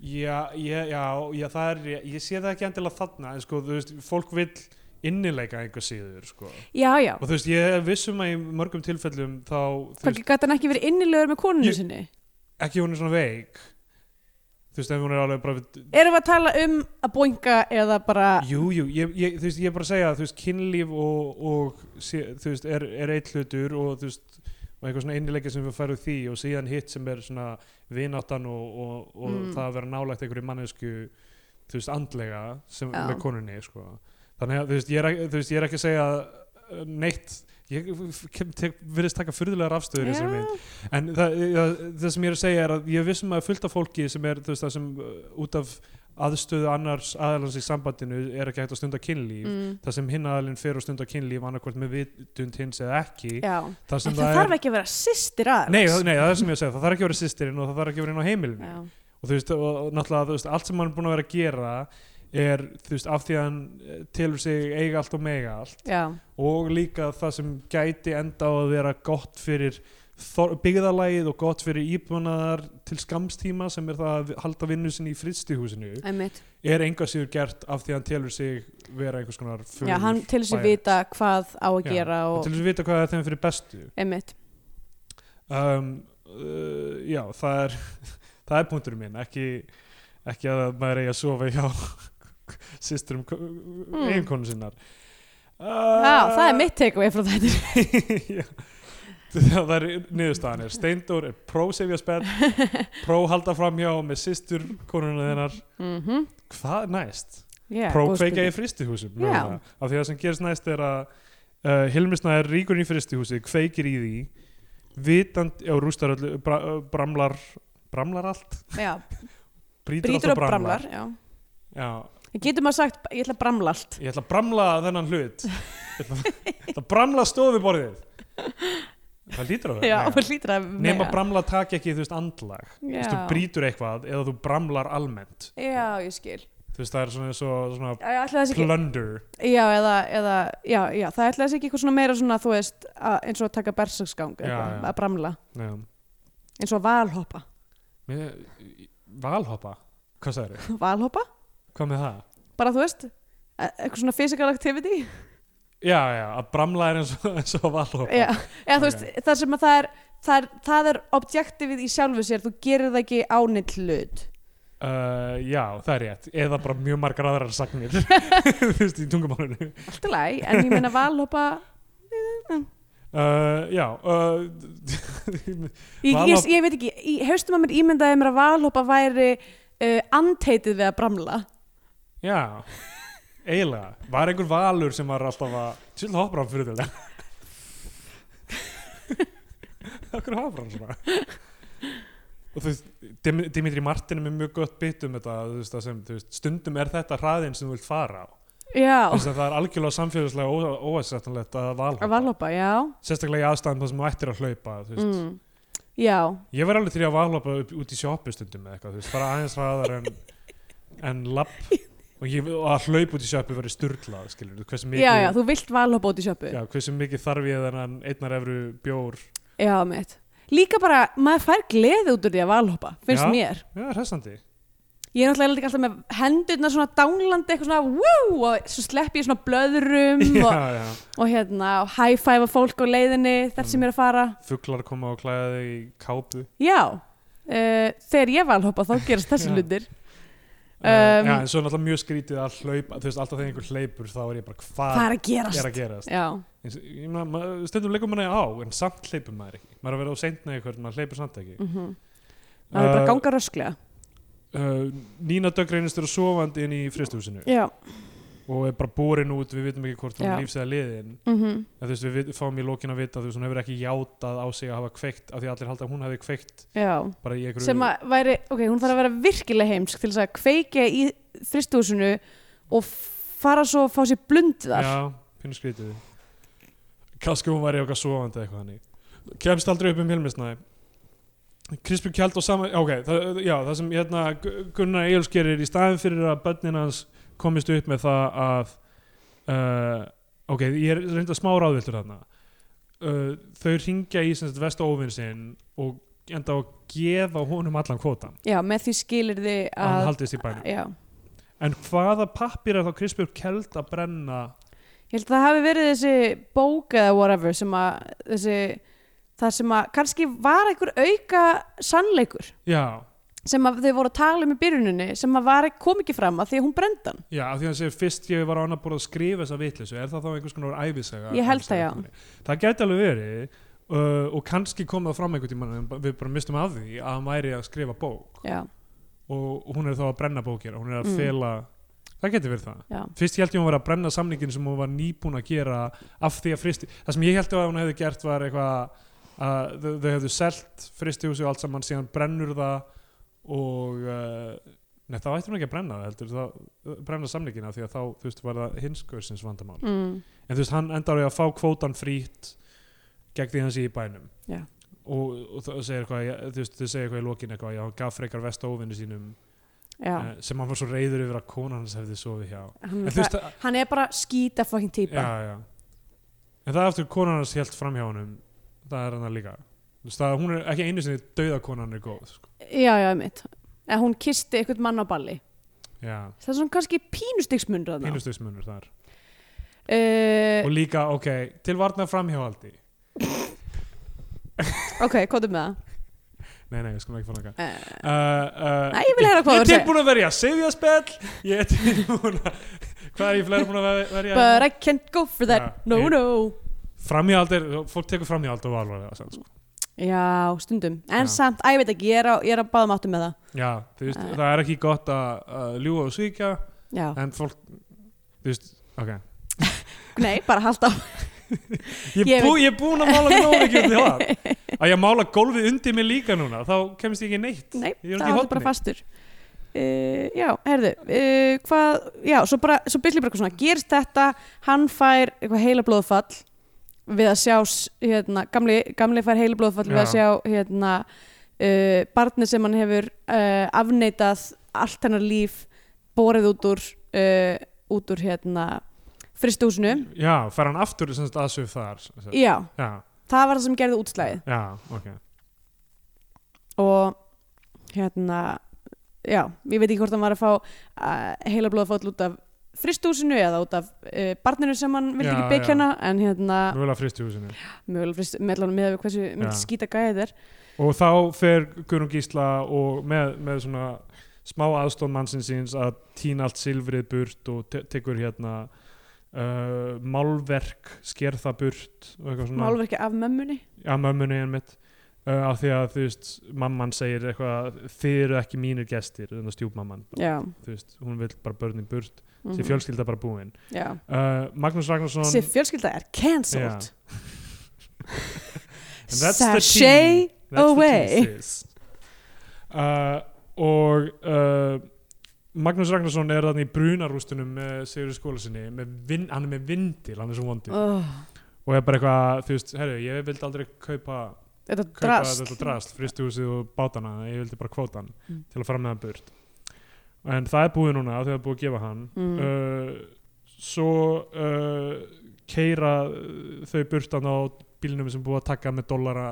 Já, já, já, já, það er, ég, ég sé það ekki endilega þarna, en sko, þú veist, fólk vill innileika einhver síður, sko.
Já, já.
Og þú veist, ég er viss um að í mörgum tilfellum þá, þú
Hvað
veist,
gæti hann ekki verið innilegur með konunni
Ég-
sinni?
ekki hún er svona veik, þú veist, ef hún er alveg bara, við-
Erum við að tala um að boinga eða bara,
jú, jú, ég, ég, þú veist, ég er bara að segja, þú veist, kynlíf og, og sé, þú veist, er, er eitt hlutur og, þú veist, og eitthvað svona innileika sem við færum því og síðan hitt sem er svona vináttan og, og, og
Mm.
það að vera nálægt einhverju mannesku þú veist, andlega sem,
Já.
með konunni sko. þannig að þú veist, ég er, ekki- þú veist, ég er ekki að segja uh, neitt ég kem- tek- virðist taka furðulega rafstöður í þessari mynd en það, það, það sem ég er að segja er að ég er vissum að fullt af fólki sem er þú veist, það sem uh, út af aðstöðu annars aðalans í sambandinu er ekki hægt að stunda kynlíf
mm,
það sem hinn aðalinn fer að stunda kynlíf annarkvort með vitund hins eða ekki
já,
það
en
sem
það
það,
þarf ekki að vera systir
er
aðeins.
nei, það- nei, það er sem ég er að segja, það þarf ekki að vera sýstirinn og það þarf ekki að vera inn á heimilinu
Já,
og þú veist, og, og náttúrulega þú veist, allt sem hann er búin að vera að gera er, þú veist, af því að hann eh, telur sig eiga allt og mega allt
já,
og líka það sem gæti enda á að vera gott fyrir þor- byggðalagið og gott fyrir íbúnaðar til skamstíma sem er það að vi- halda vinnu sinni í fristihúsinu
einmitt.
er enga síður gert af því að hann telur sig vera einhvers konar
Já, hann til þess að
bæjarins.
vita hvað á að
Já,
gera
og
og,
til þess að vita hvað er þeim fyrir bestu
einmitt.
um, uh, já, það er það er punkturinn minn ekki, ekki að maður eigi að sofa hjá sýsturum mm. eiginkonu sinnar uh,
Hmm. Já, það er mitt takeaway frá þetta.
já, það er niðurstaðan er Steindór er pró-sefjaspenn pró-halda fram hjá með sýstur konuna þennar
Mm
hvað er næst?
yeah,
Prókveika í fristihúsum
Já.
mögulega. af því að það sem gerist næst er að uh, Hilmisnæður ríkur í fristihúsi kveikir í því vitand, já rústar öllu bra, uh, bramlar, bramlar allt
Já,
brýtur,
brýtur
allt
og bramlar, já.
Já,
Getur maður sagt, ég ætla að bramla allt
ég ætla að bramla þennan hlut ég ætla, ég ætla að bramla stofuborðið það lítur á það
Já,
mega.
maður hlýtur að
nema bramla takk ekki þú veist andlag þú veist, þú
Já.
brýtur eitthvað eða þú bramlar almennt
Já, ég skil
þú veist, það er svona, svo, svona
Já, ætli það sé ekki,
plunder
já, eða, eða, já, já, það ætla þessi ekki eitthvað svona meira svona, þú veist, að, eins og að taka berserksgang,
Já,
eitthvað,
já.
að bramla,
já.
eins og að valhoppa.
Mér- valhoppa, hvað sagður
Valhoppa?
Hvað með það?
Bara, þú veist, e- eitthvað svona physical activity.
Já, já, að bramla er eins og, eins og valhópa.
Já, eða þú
Ok.
veist, það sem að það er, það er, það er objektivið í sjálfu sér, þú gerir það ekki á neitt hlut.
Uh, já, það er rétt. Eða bara mjög margar aðrar sagnir, þú veist, í tungumálinu.
Allt í lagi, en ég meina valhoppa,
Uh, já, uh,
ég, ég,
Valhopp-
ég veit ekki, í haustum að mér ímyndaði mér að valhoppa væri uh, anteitið við að bramla.
já, eiginlega. Var einhver valur sem var alltaf að, til hoppar hann fyrir þetta? Akkur hoppar hann svona? Og þú veist, Dim Dimitri Martin er með mjög gott bit um þetta, þú veist, það sem, þú veist, stundum er þetta hraðin sem þú vilt fara á.
Já,
Þess að það er algjörlega samfélagslega ó- óæsættanlegt að valhoppa.
að valhoppa, já.
Sérstaklega í aðstæðum það sem þú ættir að hlaupa. þú veist.
Mm. Já,
Ég verð alveg til í að valhoppa upp, út í sjoppu stundum eða eitthvað, þú veist, fara aðeins hraðar en, en lapp og, ég, og að hlaupa út í sjoppu verið sturglað, skilur þú, hversu mikið,
já, já, þú vilt valhoppa út í sjöpu. Já,
já, hversu mikið þarf ég þennan einnar efru bjór,
mitt. Líka bara, maður fær gleði út úr því að valhoppa, finnst
Já.
mér.
já, hressandi.
ég er náttúrulega líka alltaf með hendurna svona dánlandi eitthvað svona woo, og svo slepp ég svona blöðrum og,
já, já.
og hérna og high-five að fólk á leiðinni þar sem
Mm.
er að fara
fuglar koma og klæða þig í kápu
já, uh, þegar ég valhoppa þá gerast þessi
Já.
hlutir
Uh,
Um,
já, en svo er náttúrulega mjög skrítið að hlaupa þú veist, alltaf þegar einhver hleypur þá er ég bara hvað
hvað er að gerast
er að gerast
já,
Eins- ég meina, maður- stundum leikur manni á en samt hleypur maður ekki maður er að vera á seint með eitthvað, maður hleypur samt ekki
mhm Það er bara að ganga rösklega.
uh, Nína Dögg reynist vera sofandi inn í fristúsinu
Já.
og er bara borin út, við vitum ekki hvort hún
Já.
er lífs eða liðin
Mm
en, þú veist, við vit- fáum í lókin að vita þú veist, hún hefur ekki játað á sig að hafa kveikt af því að allir halda að hún hefði kveikt
Já.
bara í einhverju
Sem að væri, ok, hún þarf að vera virkilega heimsk til þess að kveikja í fristúsinu og fara svo að fá sér blund þar.
Já, pínu skrítið Kanski hún væri okkar sofandi eða eitthvað hannig Kemst aldrei upp um Hilmisnæ Krispjör Kjald og saman Ok, það, já, það sem hérna Gu- Gunnar Egil's gerir í staðin fyrir að börnin hans komist upp með það að uh, Ok, ég er reynda smá ráðviltur þarna uh, Þau ringja í sem sagt vestu óvinn sinn og enda á að gefa honum allan kvotan
Já, með því skilir þið
að hann
að...
haldist í bænum
Já.
En hvaða pappir er þá Krispjör Kjald að brenna
Ég held að það hafi verið þessi bók eða whatever sem að þessi, það sem að kannski var einhver auka sannleikur
Já,
sem að þau voru að tala um í byrjuninni sem að var, kom ekki fram að því að hún brenda hann.
Já, af því að hann segir fyrst ég var á annar borð að skrifa þessa vitleysu, er það þá einhvers konar æfisaga?
Ég held það, já.
Það gæti alveg verið uh, og kannski kom það fram einhvern tímann en ba- við bara mistum af því að hann væri að skrifa bók
Já,
og, og hún er þá að brenna bókir hún er að
Mm.
fela, það gæti verið það
já.
Fyrst ég held ég hún var að brenna samningin sem hún var nýbúin að gera af því að fristi það sem ég held að hún hefði gert var eitthvað að þau, þau hefðu selt fristihúsi og allt saman síðan brennur það og uh, neð, þá ætti hún ekki að brenna það heldur það brenna samningina af því að þá þú veist var það hinskaursins vandamál
Mm.
en þú veist hann endar á að fá kvótan frýtt gegn því hann sé í bænum
Já.
og, og það segir eitthvað já, þú veist þau segir eitthvað í lokin eitthvað já, hann gaf frekar vestóvinni sínum
Já. Mm,
eh, sem hann var svo reyður yfir að kona hans hefði sofið hjá
Hann,
en
er
þú veist
bara- hann er bara skýta fucking típa.
já, já. en það er aftur konan hans held framhjá honum það er hann líka Þú veist, það, hún er ekki einu sinni dauða konan er góð sko.
Já, já, mitt. En hún kisti einhvern mann á balli.
já,
Það er svona kannski pínustiksmunur þarna. Pínust.
pínustuðsmunur þar
Uh,
og líka, ok, til varna framhjáhaldi
ok, kóttu með það.
nei, nei, við skulum ekki fara langa
Uh,
uh,
Nei, ég vil heyra hvað þú
ég
ert
er
að
tilbúin að verja sifjaspell ég er tilbúin að hvað er ég fleira búin að ver- verja
but I can't go for that,
Já,
no,
ég-
no.
framhjáhald er, fólk tekur framhjáhald og alvarlega samt, sko.
Já, stundum. En
Já.
samt, æ, ég veit ekki, ég er á, ég er á báðum áttum með það.
já, þú veist,
Nei.
það er ekki gott að, að ljúga og svíkja
Já,
en fólk, þú veist, ok
nei, bara halda á.
Ég,
Ég
ég, bú, ég er búin að mála nóg mikið til það að ég mála gólfið undir mig líka núna þá kemst ég ekki neitt
Nei,
Ég er
það
ekki í
haldur bara
horni.
fastur. Uh, já, herðu, uh, hvað, já, svo bara, svo byrli bara eitthvað svona, gerist þetta, hann fær eitthvað heila blóðfall við að sjá, s- hérna, gamli, gamli fær heila blóðfall við að
Já.
sjá, hérna, uh, barni sem hann hefur uh, afneitað allt hennar líf, borið út úr, uh, út úr, hérna, fristúsinu.
Já, fær hann aftur sem sagt, aðsöf þar sem sagt.
Já,
Já,
það var það sem gerði útslæðið
já, ok
og, hérna, já, ég veit ekki hvort hann var að fá uh, heila blóðfall út af fristúsinu eða út af uh, barninu sem hann vildi
Já,
ekki beikja
já.
hana en hérna,
Nú vil að fristi húsinu
mögulega frist, meðlan með hversu mikið
Já.
skýta gæðið er
Og þá fer Guðrún Gísla og með, með svona smá aðstóð mannsins síns að týna allt silfrið burt og te tekur hérna uh, málverk sker það burt og eitthvað svona
málverki af mömmunni
Já, mömmunni einmitt uh, af því að þú veist, mamman segir eitthvað þið eru ekki mínir gestir þannig að stjúpmamman,
já,
þú veist, hún vil bara börnin burt,
mm
þessi fjölskylda bara búin
já.
uh, Magnús Ragnarsson
þessi fjölskylda er cancelled
And that's the
sashay
tea. That's the
away.
tea, sis. uh, og uh, Magnús Ragnarsson er þannig í brunarústunum með Sigur skóla sinni vin, hann er með vindil, hann er svo vondið
oh,
og er bara eitthvað, þú veist, herru, ég vildi aldrei kaupa
þetta
kaupa
drast
þetta drast, fristihúsið og bátana ég vildi bara kvótan
Mm.
til að fara með hann burt en það er búið núna þegar það er búið að gefa hann
Mm.
uh, svo uh, keira þau burtan á bílnum sem búið að taka með dollara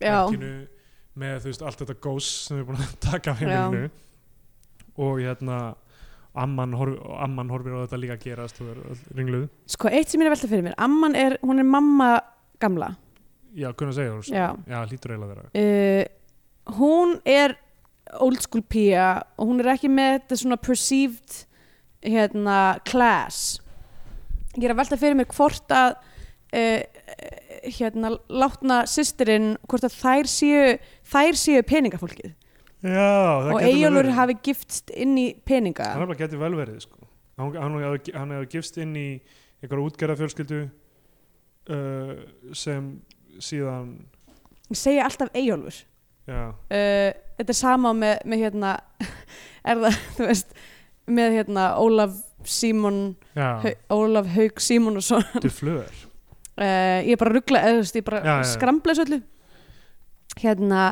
já,
merkinu, með þú veist, allt þetta gós sem við erum búin að taka af
Já.
heimilinu og hérna amman, horf, amman horfir á þetta líka að gerast og er öll ringluð
Sko, eitt sem ég er að velta fyrir mér, amman er, hún er mamma gamla.
já, kunna segja þú veist.
Já.
já, hlýtur eiginlega þeirra
Uh, hún er old school pía og hún er ekki með þetta svona perceived hérna, class. Ég er að velta fyrir mér hvort að uh, hérna, látna systirinn, hvort að þær séu, þær séu peningafólkið
já,
og
það getur vel
eigjálur
verið.
hafi giftst inn í peninga.
hann hefði getið vel verið sko. hann, hann, hefði- hann hefði gifst inn í einhverja útgerðarfjölskyldu uh, sem síðan
Ég segja alltaf eigjálur.
já,
uh, þetta er sama með, með hérna er það, þú veist með hérna Ólaf Símon
já
Hau, Ólaf Haug Símonusson
duflöður
uh, ég er bara ruggla, eða þú veist, ég bara
Já, já, já.
skramla þessu öllu hérna,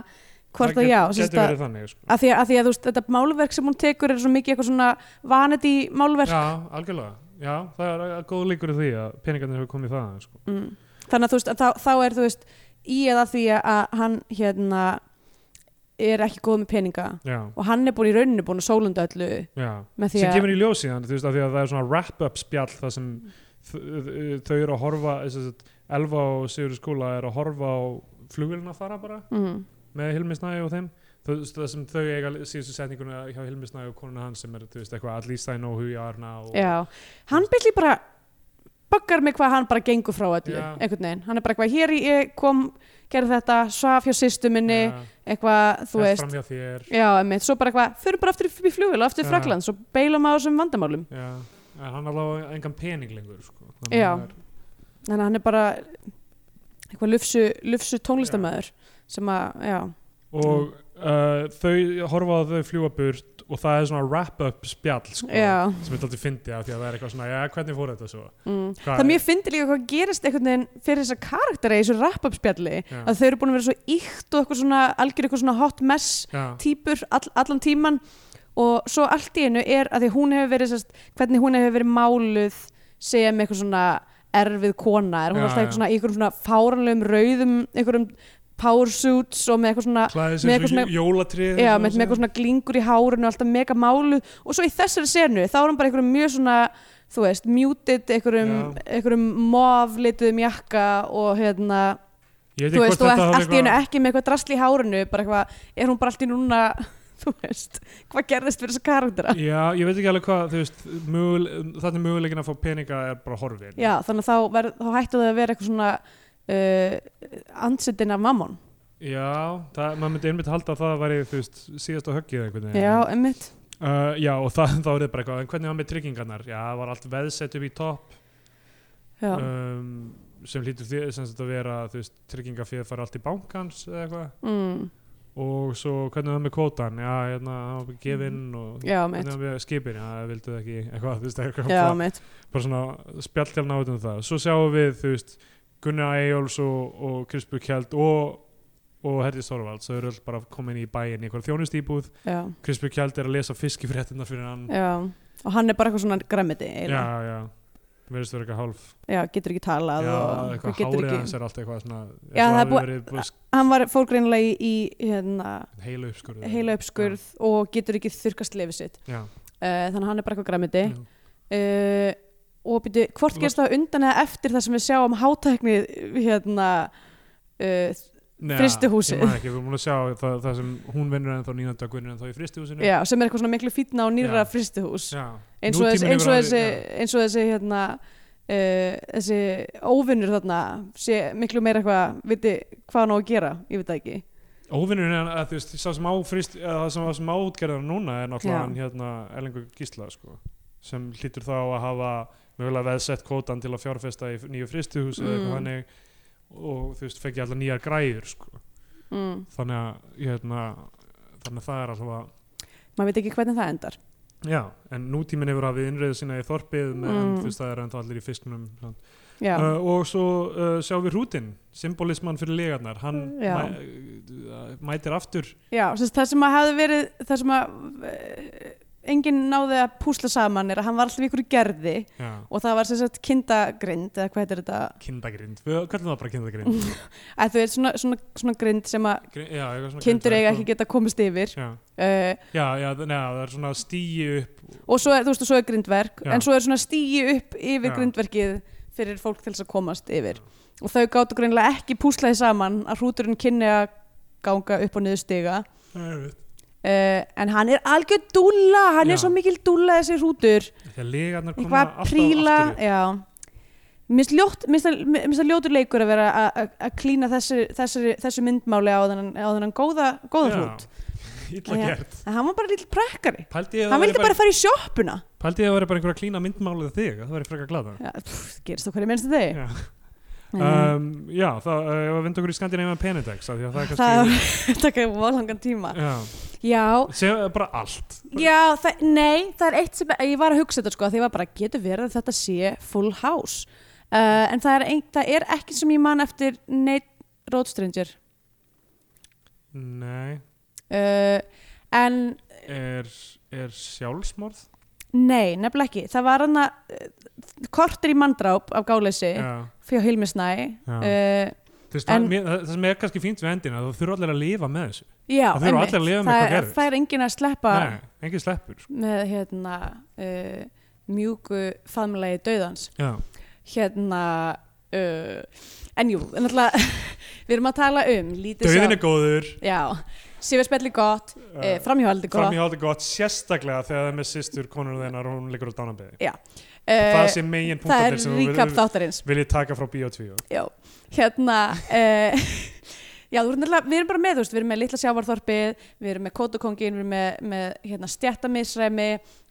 hvort að já
það
sem
get-
sagt
getur
að
verið þannig sko.
Að því, að, að því að þú veist, þetta málverk sem hún tekur er svo mikið eitthvað svona vaneti málverk
já, algjörlega já, það er að- góð líkur í því að peningarnir hefur komið það sko.
mm. þannig að þú veist, að þá, þá er þú veist í eða því að hann hérna er ekki góð með peninga
já,
og hann er búin í rauninu búin að sólunda öllu
já
með því
sem
að
kemur í ljós síðan, þú veist, af því að það er svona wrap-up spjall það sem þ- þau eru að horfa þess að Elva og Sigur skóla er að horfa á flugilina fara bara
mm.
með Hilmi Snæði og þeim Þú veist, það sem þau eiga síðustu setninguna hjá Hilmi Snæði og konuna hans sem er þú veist eitthvað at least I know who you are now
Já, hann byrði bara baggar mig hvað hann bara gengur frá öllu
Já.
einhvern veginn, hann er bara eitthvað hér ég kom, gerði þetta, svaf hjá sýstu minni
ja,
eitthvað, þú
hélt
veist
fram hjá þér
já, emitt, svo bara eitthvað, förum bara aftur upp í flugvél og aftur í
Já.
Frakland, svo beilum á þessum vandamálum
já, en hann alveg engan pening lengur sko. Þannig
Já.
að það er-
þannig að hann er bara eitthvað lufsu, lufsu tónlistamæður sem að, já,
og uh, þau horfa á að þau fljúa burt og það er svona wrap-up spjall sko,
já
sem ég alltaf fyndi af því að það er eitthvað svona já, hvernig fór þetta svo
mm.
Hvað-
það er mjög fyndi líka hvað gerist einhvern veginn fyrir þessa karaktera í þessu rappupspjalli
Já.
að þau eru búin að vera svo ykt og eitthvað svona algjör eitthvað svona hot mess
já,
týpur all, allan tíman og svo allt í einu er að því hún hefur verið sest, hvernig hún hefur verið máluð sem eitthvað svona erfið kona er hún
Já,
alltaf
já.
eitthvað svona í einhverjum svona fáranlegum rauðum einhverjum power suits og með eitthvað svona
klæðið
með
sem
eitthvað
svo
svona-
jólatrið
Já, með, með eitthvað svona glingur í hárinu og alltaf mega máluð og svo í þessari senu þá er hún bara einhverjum mjög svona þú veist, muted einhverjum, einhverjum moflituðum jakka og hérna,
ég
þú veist,
veit ekki
og
hvort
allt
þetta
í
hafi
einu
eitthvað
ekki með eitthvað drasl í hárinu bara eitthvað, er hún bara allt í einu núna þú veist, hvað gerðist fyrir þessa karaktera
já, ég veit ekki alveg hvað þú veist, mögul, þannig möguleikin að fá peninga er bara horfin
já, þannig að þá, ver, þá hættu það að vera eitthvað svona uh, andsetin af mammon
Já, það, maður myndi einmitt halda að það væri þú veist, síðasta höggið einhvern
já, emmitt
uh, Já, og það, þá er það bara eitthvað en hvernig var með tryggingarnar? Já, það var allt veðsett upp í topp
já,
um, sem hlýtur því sem þetta vera þú veist, tryggingaféð fara allt í bankans eða eitthvað
mm,
og svo hvernig var með kvótan? Já, hérna, hann var bara gefinn og
Mhm. já,
hvernig
emmitt
var með skipin? Já, það vildu ekki eitthvað, þú veist, eitthvað
já,
bara-
emmitt,
bara svona spjalltjálna út um það svo sjáum við, þú veist, Gunnar Eyjóls og, og Krispur Kjeld og, og Herði Storvald, þau eru öll bara komin í bæinn í eitthvað þjónustýbúð
já,
Krispur Kjeld er að lesa fiskifréttina fyrir hann
já og hann er bara eitthvað svona græmiti
já,
eiginlega.
já, verðist vera eitthvað hálf
já, getur ekki talað
já,
og
eitthvað
getur
hárið
ekki
hans er allt eitthvað svona
Já, það er
eins og hafi
búið-
verið búið
hann var fórgreinlega í, í hérna,
sk- heila uppskurð
heila uppskurð og getur ekki þurkast lefið sitt
já,
uh, þannig að hann er bara eitthvað græmiti
já.
uh, og byrju, hvort gerst það á undan eða eftir það sem við sjáum hátækni hérna uh,
Nei,
Frystihúsið.
ég man ekki, við erum búin að sjá það, það sem hún vinnur ennþá Nína Dögg vinnur ennþá í fristihúsinu
já, sem er eitthvað svona miklu fýtna og nýra
Já.
fristihús
Já.
eins og,
Nútíminn
þess, eins, og
hefur
þessi,
orðið-
eins og þessi hérna Uh, þessi óvinnur þarna sé miklu meira eitthvað viti hvað hann á að gera, ég veit það ekki
Óvinnurinn er hérna, að þú veist, sá sem á frist, eða það sem, það sem á útgerðar núna er náttúrulega
Já.
hann hérna Erlingur Gísla sko, sem hlýtur þá að hafa mögulega veðsett kótan til að fjárfesta í nýju fristuhús
Mm.
eða eitthvað þannig og þú veist, fengi alltaf nýjar græður sko.
mm.
þannig að hérna, þannig að það er alltaf
maður veit ekki hvernig það endar
já, en nútíminn hefur hafið innröðu sína í þorpið mm. en
Mm.
þú veist, það er ennþá allir í fisknum uh,
já,
og svo uh, sjáum við hrútin symbolismann fyrir legarnar hann
Já.
mæ, mætir aftur
já sem sagt, það sem að hefði verið það sem að eh, enginn náði að púsla saman er að hann var alltaf í ykkur gerði
já.
og það var sem sagt kindagrind eða hvað heitir þetta
kindagrind, við kallum það bara kindagrind
að þú veit svona, svona, svona grind sem að
Gri- já, eitthvað svona
kindur
grind,
eiga
sko.
ekki geta komist yfir
já,
uh,
já, já neða, það er svona stíi upp
og svo er, þú veist, og svo er grindverk
Já.
en svo er svona stígi upp yfir
Já.
grindverkið fyrir fólk til þess að komast yfir og þau gáttu greinlega ekki púslaði saman að hrúturinn kynni að ganga upp og niður stiga
þegar
uh, en hann er algjör dúlla hann
Já.
er svo mikil dúlla þessi hrútur
legarnar koma
eitthvað
alltaf
príla
aftur upp.
já minnst ljótt, minnst það- minnst það ljótur leikur að vera að- að að klína þessu, þessu, þessu myndmáli á þennan, á þennan góða, góða
Já.
hrút
illa
Já.
gert
en hann var bara lill prekkari
pældi ég að
hann
það væri
vildi bara fara í sjoppuna
pældi ég að það væri bara einhverja klína myndmálið um þig það væri frekar glada
Já, pff, gerist þú hverju minnstu þig
Já.
um,
um, já, þá uh, ef að vinda okkur í Skandinavian Penedex af því að það er
það
kannski
taka volangan tíma
Já.
já,
segja bara allt
já það, nei, það er eitt sem ég var að hugsa þetta sko, að því ég var bara getur verið að þetta sé full house uh, en það er, ein, það er ekki sem ég man eftir neitt Road Stranger
nei,
uh, en
er, er sjálfsmorð
Eh, nei, nefnilega ekki það var hann að kortir í manndráp af gáleysi
já
fyrir Hilmi Snæ
Já.
uh,
Þú Veist, en,
En-
mér, það það sem er kannski fínt við endina þú þurfa allir að lifa með þessu
já,
Það þurfa
einmitt.
allir að lifa með hvað
það,
gerðist.
það er engin að sleppa
Nei, engin sleppur sko.
með hérna uh, mjúku faðmulegi dauðans
já,
hérna uh, en jú, en alltaf við erum að tala um lítið
Dauðin er góður
sjálf já, sífarspelli gott, uh,
uh,
framhjóhaldi gott
framhjóði gott sérstaklega þegar það er með sýstur konur þeinar og hún liggur á dánabeði
uh,
það sé megin
það
punktarnir
er
sem
ríkap
þú
þáttarins
vil ég taka frá Bíotvíu
já, hérna uh, já, þú erum alltaf, við erum bara með þú veist, við erum með litla sjávarþorpið við erum með kótukongin, við erum með, með hérna, stjættamisræmi,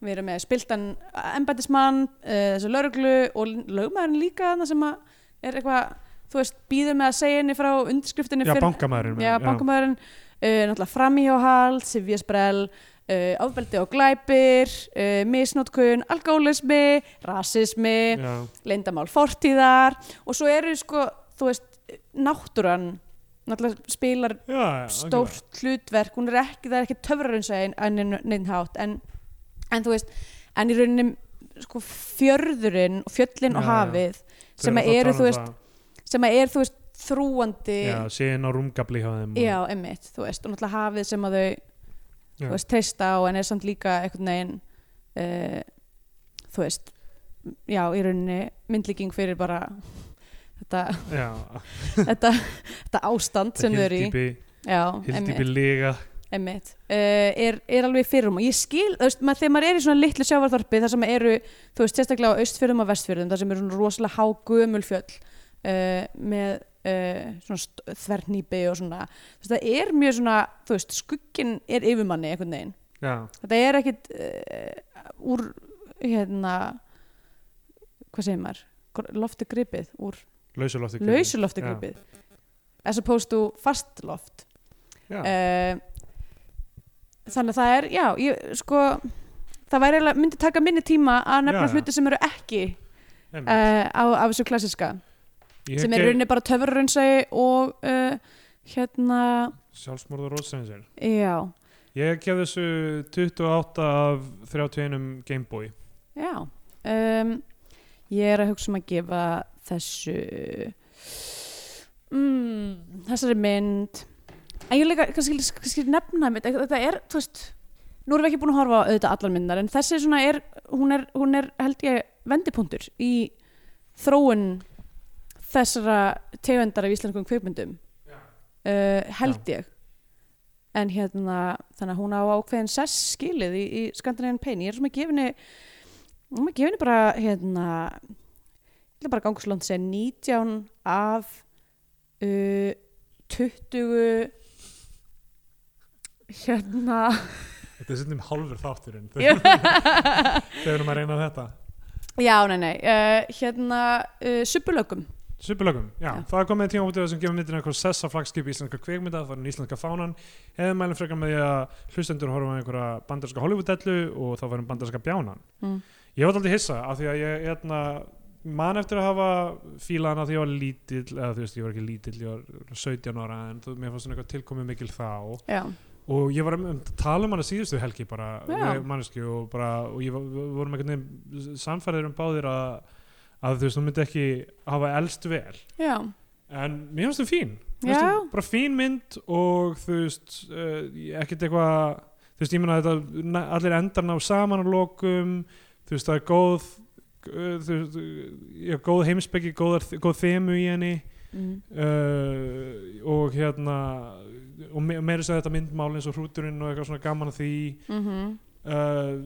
við erum með spiltan embætismann, uh, þessu lauruglu og lögmaðurinn líka þannig sem að er eitthvað þú veist, býður með að segja henni frá undirskriftinni
já,
fyrr-
bankamæðurinn
Já, bankamæðurinn, uh, náttúrulega framhjóhald, sifjasprell, uh, ofbeldi og glæpir, uh, misnótkun, alkoholismi, rasismi,
já,
leyndamál fortíðar og svo eru sko, þú veist, náttúran, náttúrulega spilar
já, já, algjörlega.
stórt hlutverk, hún er ekki, það er ekki töfrarunsa en neinn hátt, en, en þú veist, en í rauninni sko fjörðurinn og fjöllin og
Já, já.
hafið
Þau
sem að
alltaf
eru,
tala
þú
um
veist,
það.
sem að er, þú veist, þrúandi
já, síðan á rúmgabli hjá þeim og-
Já, emmitt, þú veist, og náttúrulega hafið sem að þau,
Já.
þú veist, treysta á en er samt líka einhvern veginn uh, þú veist já, í rauninni myndlíking fyrir bara þetta,
já,
þetta, þetta ástand sem þau eru í
Hildípi-
Já,
Hildípi
emmitt,
liga
emmitt uh, er, er alveg fyrirum og ég skil, þú veist, maður, þegar maður er í svona litlu sjávarþorpi þar sem eru, þú veist, sérstaklega á austfjörðum og vestfjörðum, þar sem eru svona rosalega hágumulfjöll uh, með uh, svona st- þvernýpi og svona, þú veist, það er mjög svona þú veist, skugginn er yfirmanni einhvern veginn
já,
þetta er ekkit uh, úr hérna hvað segir maður Gr- lofti gripið, úr
lausulofti
lausu lofti gripið as opposed to fast loft
já,
uh, Eh, þannig að það er já, ég, sko það væri eiginlega, myndi taka minni tíma að nefna
Já, já.
hluti sem eru ekki
einmitt.
uh, á, af þessu klassiska
Ég
sem er
hef
í
ge-
rauninni bara töfrarunnsæi og uh, hérna
Sjálfsmorð og rótstæðinsir.
já,
Ég gef þessu 28 af 31 Gameboy.
já um, ég er að hugsa um að gefa þessu mm, þessari mynd en ég líka kannski, kannski nefna mynd þetta er, þú veist nú erum við ekki búin að horfa á auðvitað allar myndar en þessi svona er, hún er, hún er held ég vendipunktur í þróun þessara tegundar af íslenskum kvikmyndum uh, held ég en hérna þannig að hún á ákveðin sess skilið í, í Skandinavian Pain ég er svona gefinni hún er gefinni Mm, bara hérna ég ætla bara að ganga svo langt að segja 19 af uh, 20 hérna
Þetta er sérnum hálfur þátturinn
Já.
þegar maður reyna þetta.
já, nei, nei uh, hérna uh, subbulögum
Superlögum, já.
Já.
Það er komið tíma út af þessum gefum myndina eitthvað sessa flagskip í íslenska kveikmynda, það var en íslenska fánan. Eða mælum frekar með því að hlustendur horfum að einhverja bandarska Hollywood-dellu og þá varum bandarska bjánan.
mm.
Ég var alltaf hissa af því að ég hérna, man eftir að hafa fílað hana því ég var lítill, eða þú veist, ég var ekki lítill, ég var 17 ára en þú, mér fannst hún eitthvað tilkomið mikil þá.
já,
og ég var um, um, tala um hana síðustu helgi bara,
Já.
manneski og bara, og ég var, við vorum einhvern veginn samfæriður um báðir að, að þú veist, hún myndi ekki hafa elst vel
já,
en mér finnst þú fín Mér
já,
finnst hún bara fín mynd og þú veist, uh, ekkert eitthvað þú veist, ég meina þetta na- allir endar ná saman á lokum þú veist, það er góð uh, þú veist, uh, já, góð heimspeki góðar, góð þemu í henni
mm,
uh, og hérna og me meira þess að segja þetta myndmál eins og hrúturinn og eitthvað svona gaman að því
mhm,
uh,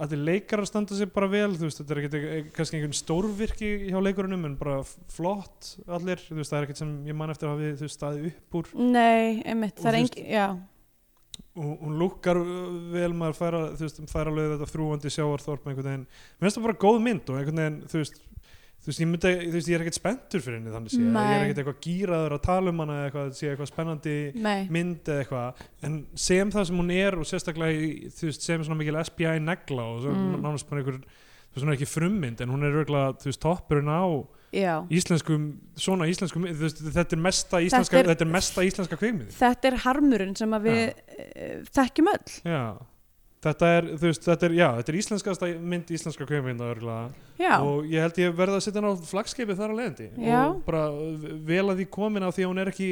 allir leikarar standa sér bara vel þú veist, þetta er ekkert e-, kannski einhvern stórvirki hjá leikurunum en bara f- flott allir, þú veist, það er ekkert sem ég man eftir að hafi þú veist, staðið upp úr
nei, einmitt,
Og
það er
þú
engin, já,
og hún lukkar uh, vel maður færa, þú veist, færa alveg þetta þrúandi sjávarþorp einhvern veginn, mér finnst það bara góð mynd og einhvern veginn, þú veist Þú veist, ég, myndi, þú veist, ég er ekkert spenntur fyrir henni þannig sé, ég er
Nei.
ekkert eitthvað gýraður að tala um hana eða eitthvað, sé eitthvað spennandi
nei
mynd eða eitthvað en sem það sem hún er og sérstaklega í, þú veist, sem svona mikil SBI negla og svo
Mm.
nánast bara einhver þú veist, hún er ekki frummynd en hún er örgulega, þú veist, toppurinn á
já,
íslenskum, svona íslenskum þú veist, þetta er mesta íslenska
Þetta
þetta
er-
er, mesta íslenska kveikmið
þetta er harmurinn sem að við uh, þekkjum öll
já þetta er, þú veist, þetta er, já, þetta er íslenskasta mynd íslenska kveikmynda örgulega
já,
og ég held ég verði að setja hann á flagskipið þar að leiðandi
Já.
og bara vel að því komin á því að hún er ekki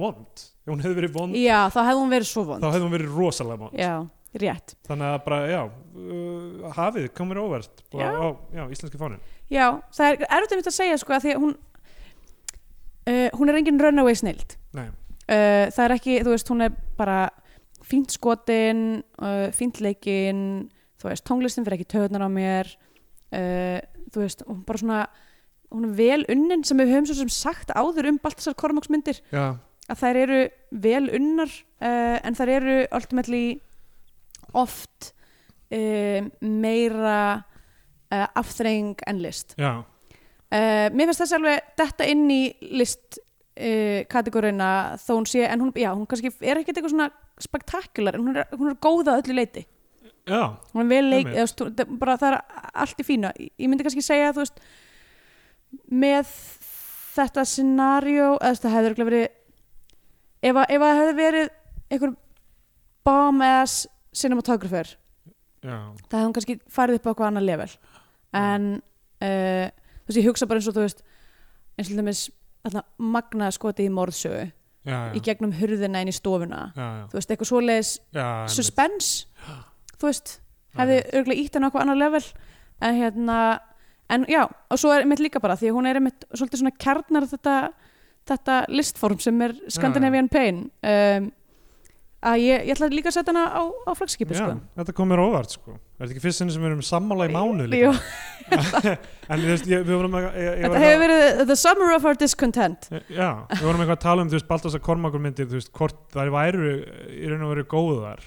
vond, ef hún hefði verið vond
já, þá hefði hún verið svo
þá
vond
hefði hún verið rosalega vond
já, rétt
þannig að bara, já uh, hafið, komur óvert og,
Já.
já. Og, já, íslenski fánin
já, það er erfitt einmitt að segja sko að því að hún uh, hún er engin runaway snild
Nei.
uh, það er ekki, þú veist, hún er bara fínt skotin uh, fínt leikinn, þú veist tónlistin fyrir ekki töðnar á mér uh, þú veist, hún bara svona hún er vel unnin sem við höfum svo sem sagt áður um Baltasar Kormáksmyndir
já,
að þær eru vel unnar uh, en þær eru ultimately oft um, meira uh, afþreng en list
já,
uh, mér finnst þessi alveg detta inn í list uh, kategóriina þó hún sé, en hún, já, hún kannski er ekkert eitthvað svona spektakular en hún er, hún er góða öllu leiti
já,
hún er vel leik
Einmitt.
eða, stu, það- bara það er allt í fína ég myndi kannski segja þú veist með þetta scenario eða þú veist, það hefði örugglega verið ef, að- ef að það hefði verið einhver bomb ass cinematographer
já,
það hefði hún kannski farið upp á eitthvað annað level en uh, þú veist ég hugsa bara eins og þú veist eins og þeimis magna skotið í morðsögu
já, já,
í gegnum hurðina inn í stofuna
já, já,
þú veist eitthvað svoleiðis
já, einmitt.
suspense þú veist,
Já,
hefði
einmitt.
örgulega ítt hann á eitthvað annar level en hérna, en já og svo er einmitt líka bara, því að hún er einmitt svolítið svona kjarnar þetta, þetta listform sem er Scandinavian Pain um, að ég, ég ætla líka að setja hana á, á flagskipi
já,
sko.
þetta kom mér óvart sko er þetta ekki fyrst sinni sem við erum sammála í mánu
Jú,
líka en þú veist, ég, við vorum eitthvað ég- ég
þetta
var eitthvað-
hefur verið the summer of our discontent
já, við vorum eitthvað að tala um þú veist, Baltasar Kormakur myndir, þú veist, hvort þær væru í raun og veru góðar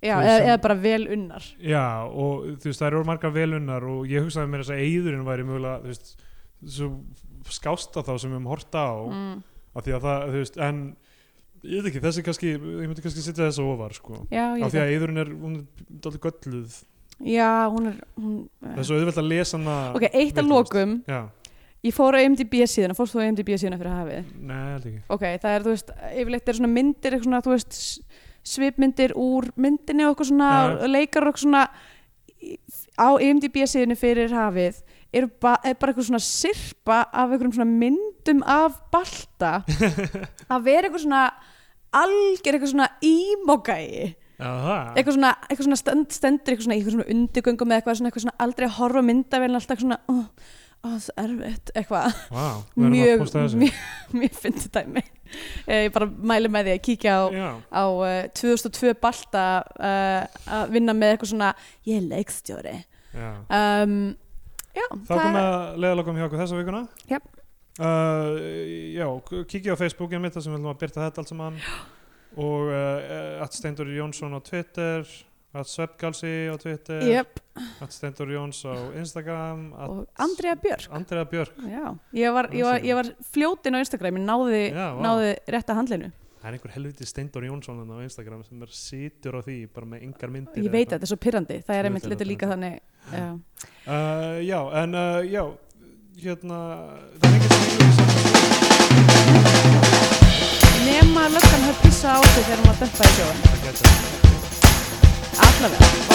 já,
Þú
eða,
sem-
eða bara vel unnar
Já, og þú veist, það eru margar velunnar og ég hugsaði mér þess að eyðurinn væri mögulega, þú veist, svo skásta þá sem við höfum horta á
mm.
af því að það, þú veist, en ég veit ekki, þessi kannski, ég myndi kannski setja þess ofar, sko,
já, ég
af því
veit.
að eyðurinn er hún er dálítið gölluð,
já, hún er hún,
það er svo auðvelt að lesa hana
ok, eitt að
vitlaust.
lokum
Já,
ég fór á IMDb síðuna, fórst þú á IMDb síðuna fyrir hafið
neða, held ekki
ok, það er, þú veist, yfirleitt er svona myndir eitthvað svona, þú veist, s- svipmyndir úr myndinni og okkur svona
Já.
og leikar og okkur svona í- á IMDb síðinu fyrir hafið er, ba er bara eitthvað svona sirpa af einhverjum svona myndum af balta að vera eitthvað svona algjör eitthvað svona ímogæi
Já, það,
eitthvað svona, eitthvað svona stend, stendur eitthvað svona, í eitthvað svona undirgöngum eða eitthvað svona, eitthvað svona aldrei að horfa á myndavélina alltaf svona ó, ó, það er erfitt eitthvað
vá, við erum að
mjög,
posta þessu
mjög, mjög fyndi dæmi Eh, ég bara mæli með því að kíkja á,
Já,
á uh, 2002 balta uh, að vinna með eitthvað svona ég er leikstjóri
já
um, já,
Þá kom að leiðalokum hjá okkur þessa vikuna
Jafn.
uh, Já, k- kíkja á Facebookin mitt þar sem við ætlum að byrta þetta allt saman og uh, að Steindur Jónsson á Twitter að Sveppgalsi á Twitter
jöp,
að Steindur Jóns á Instagram Eh, að
og Andrea Björk
Andrea Björk
já, ég var, ég var, ég var fljótin á Instagram ég náði,
Já, vá.
náði rétt að handlinu
Það er einhver helviti Steindur Jónsson þarna á Instagram sem er situr á því bara með yngar myndir
ég
eða
veit að
eitthvað.
þetta er svo pirrandi það
Ég
er einmitt
veit
lítið
að þetta-
líka þannig já.
uh, Já, en uh, já hérna það er einhvern veginn
nema nema að löggan höfð pissa á sig þegar hún var að dömpa í sjóin
það getur
allavega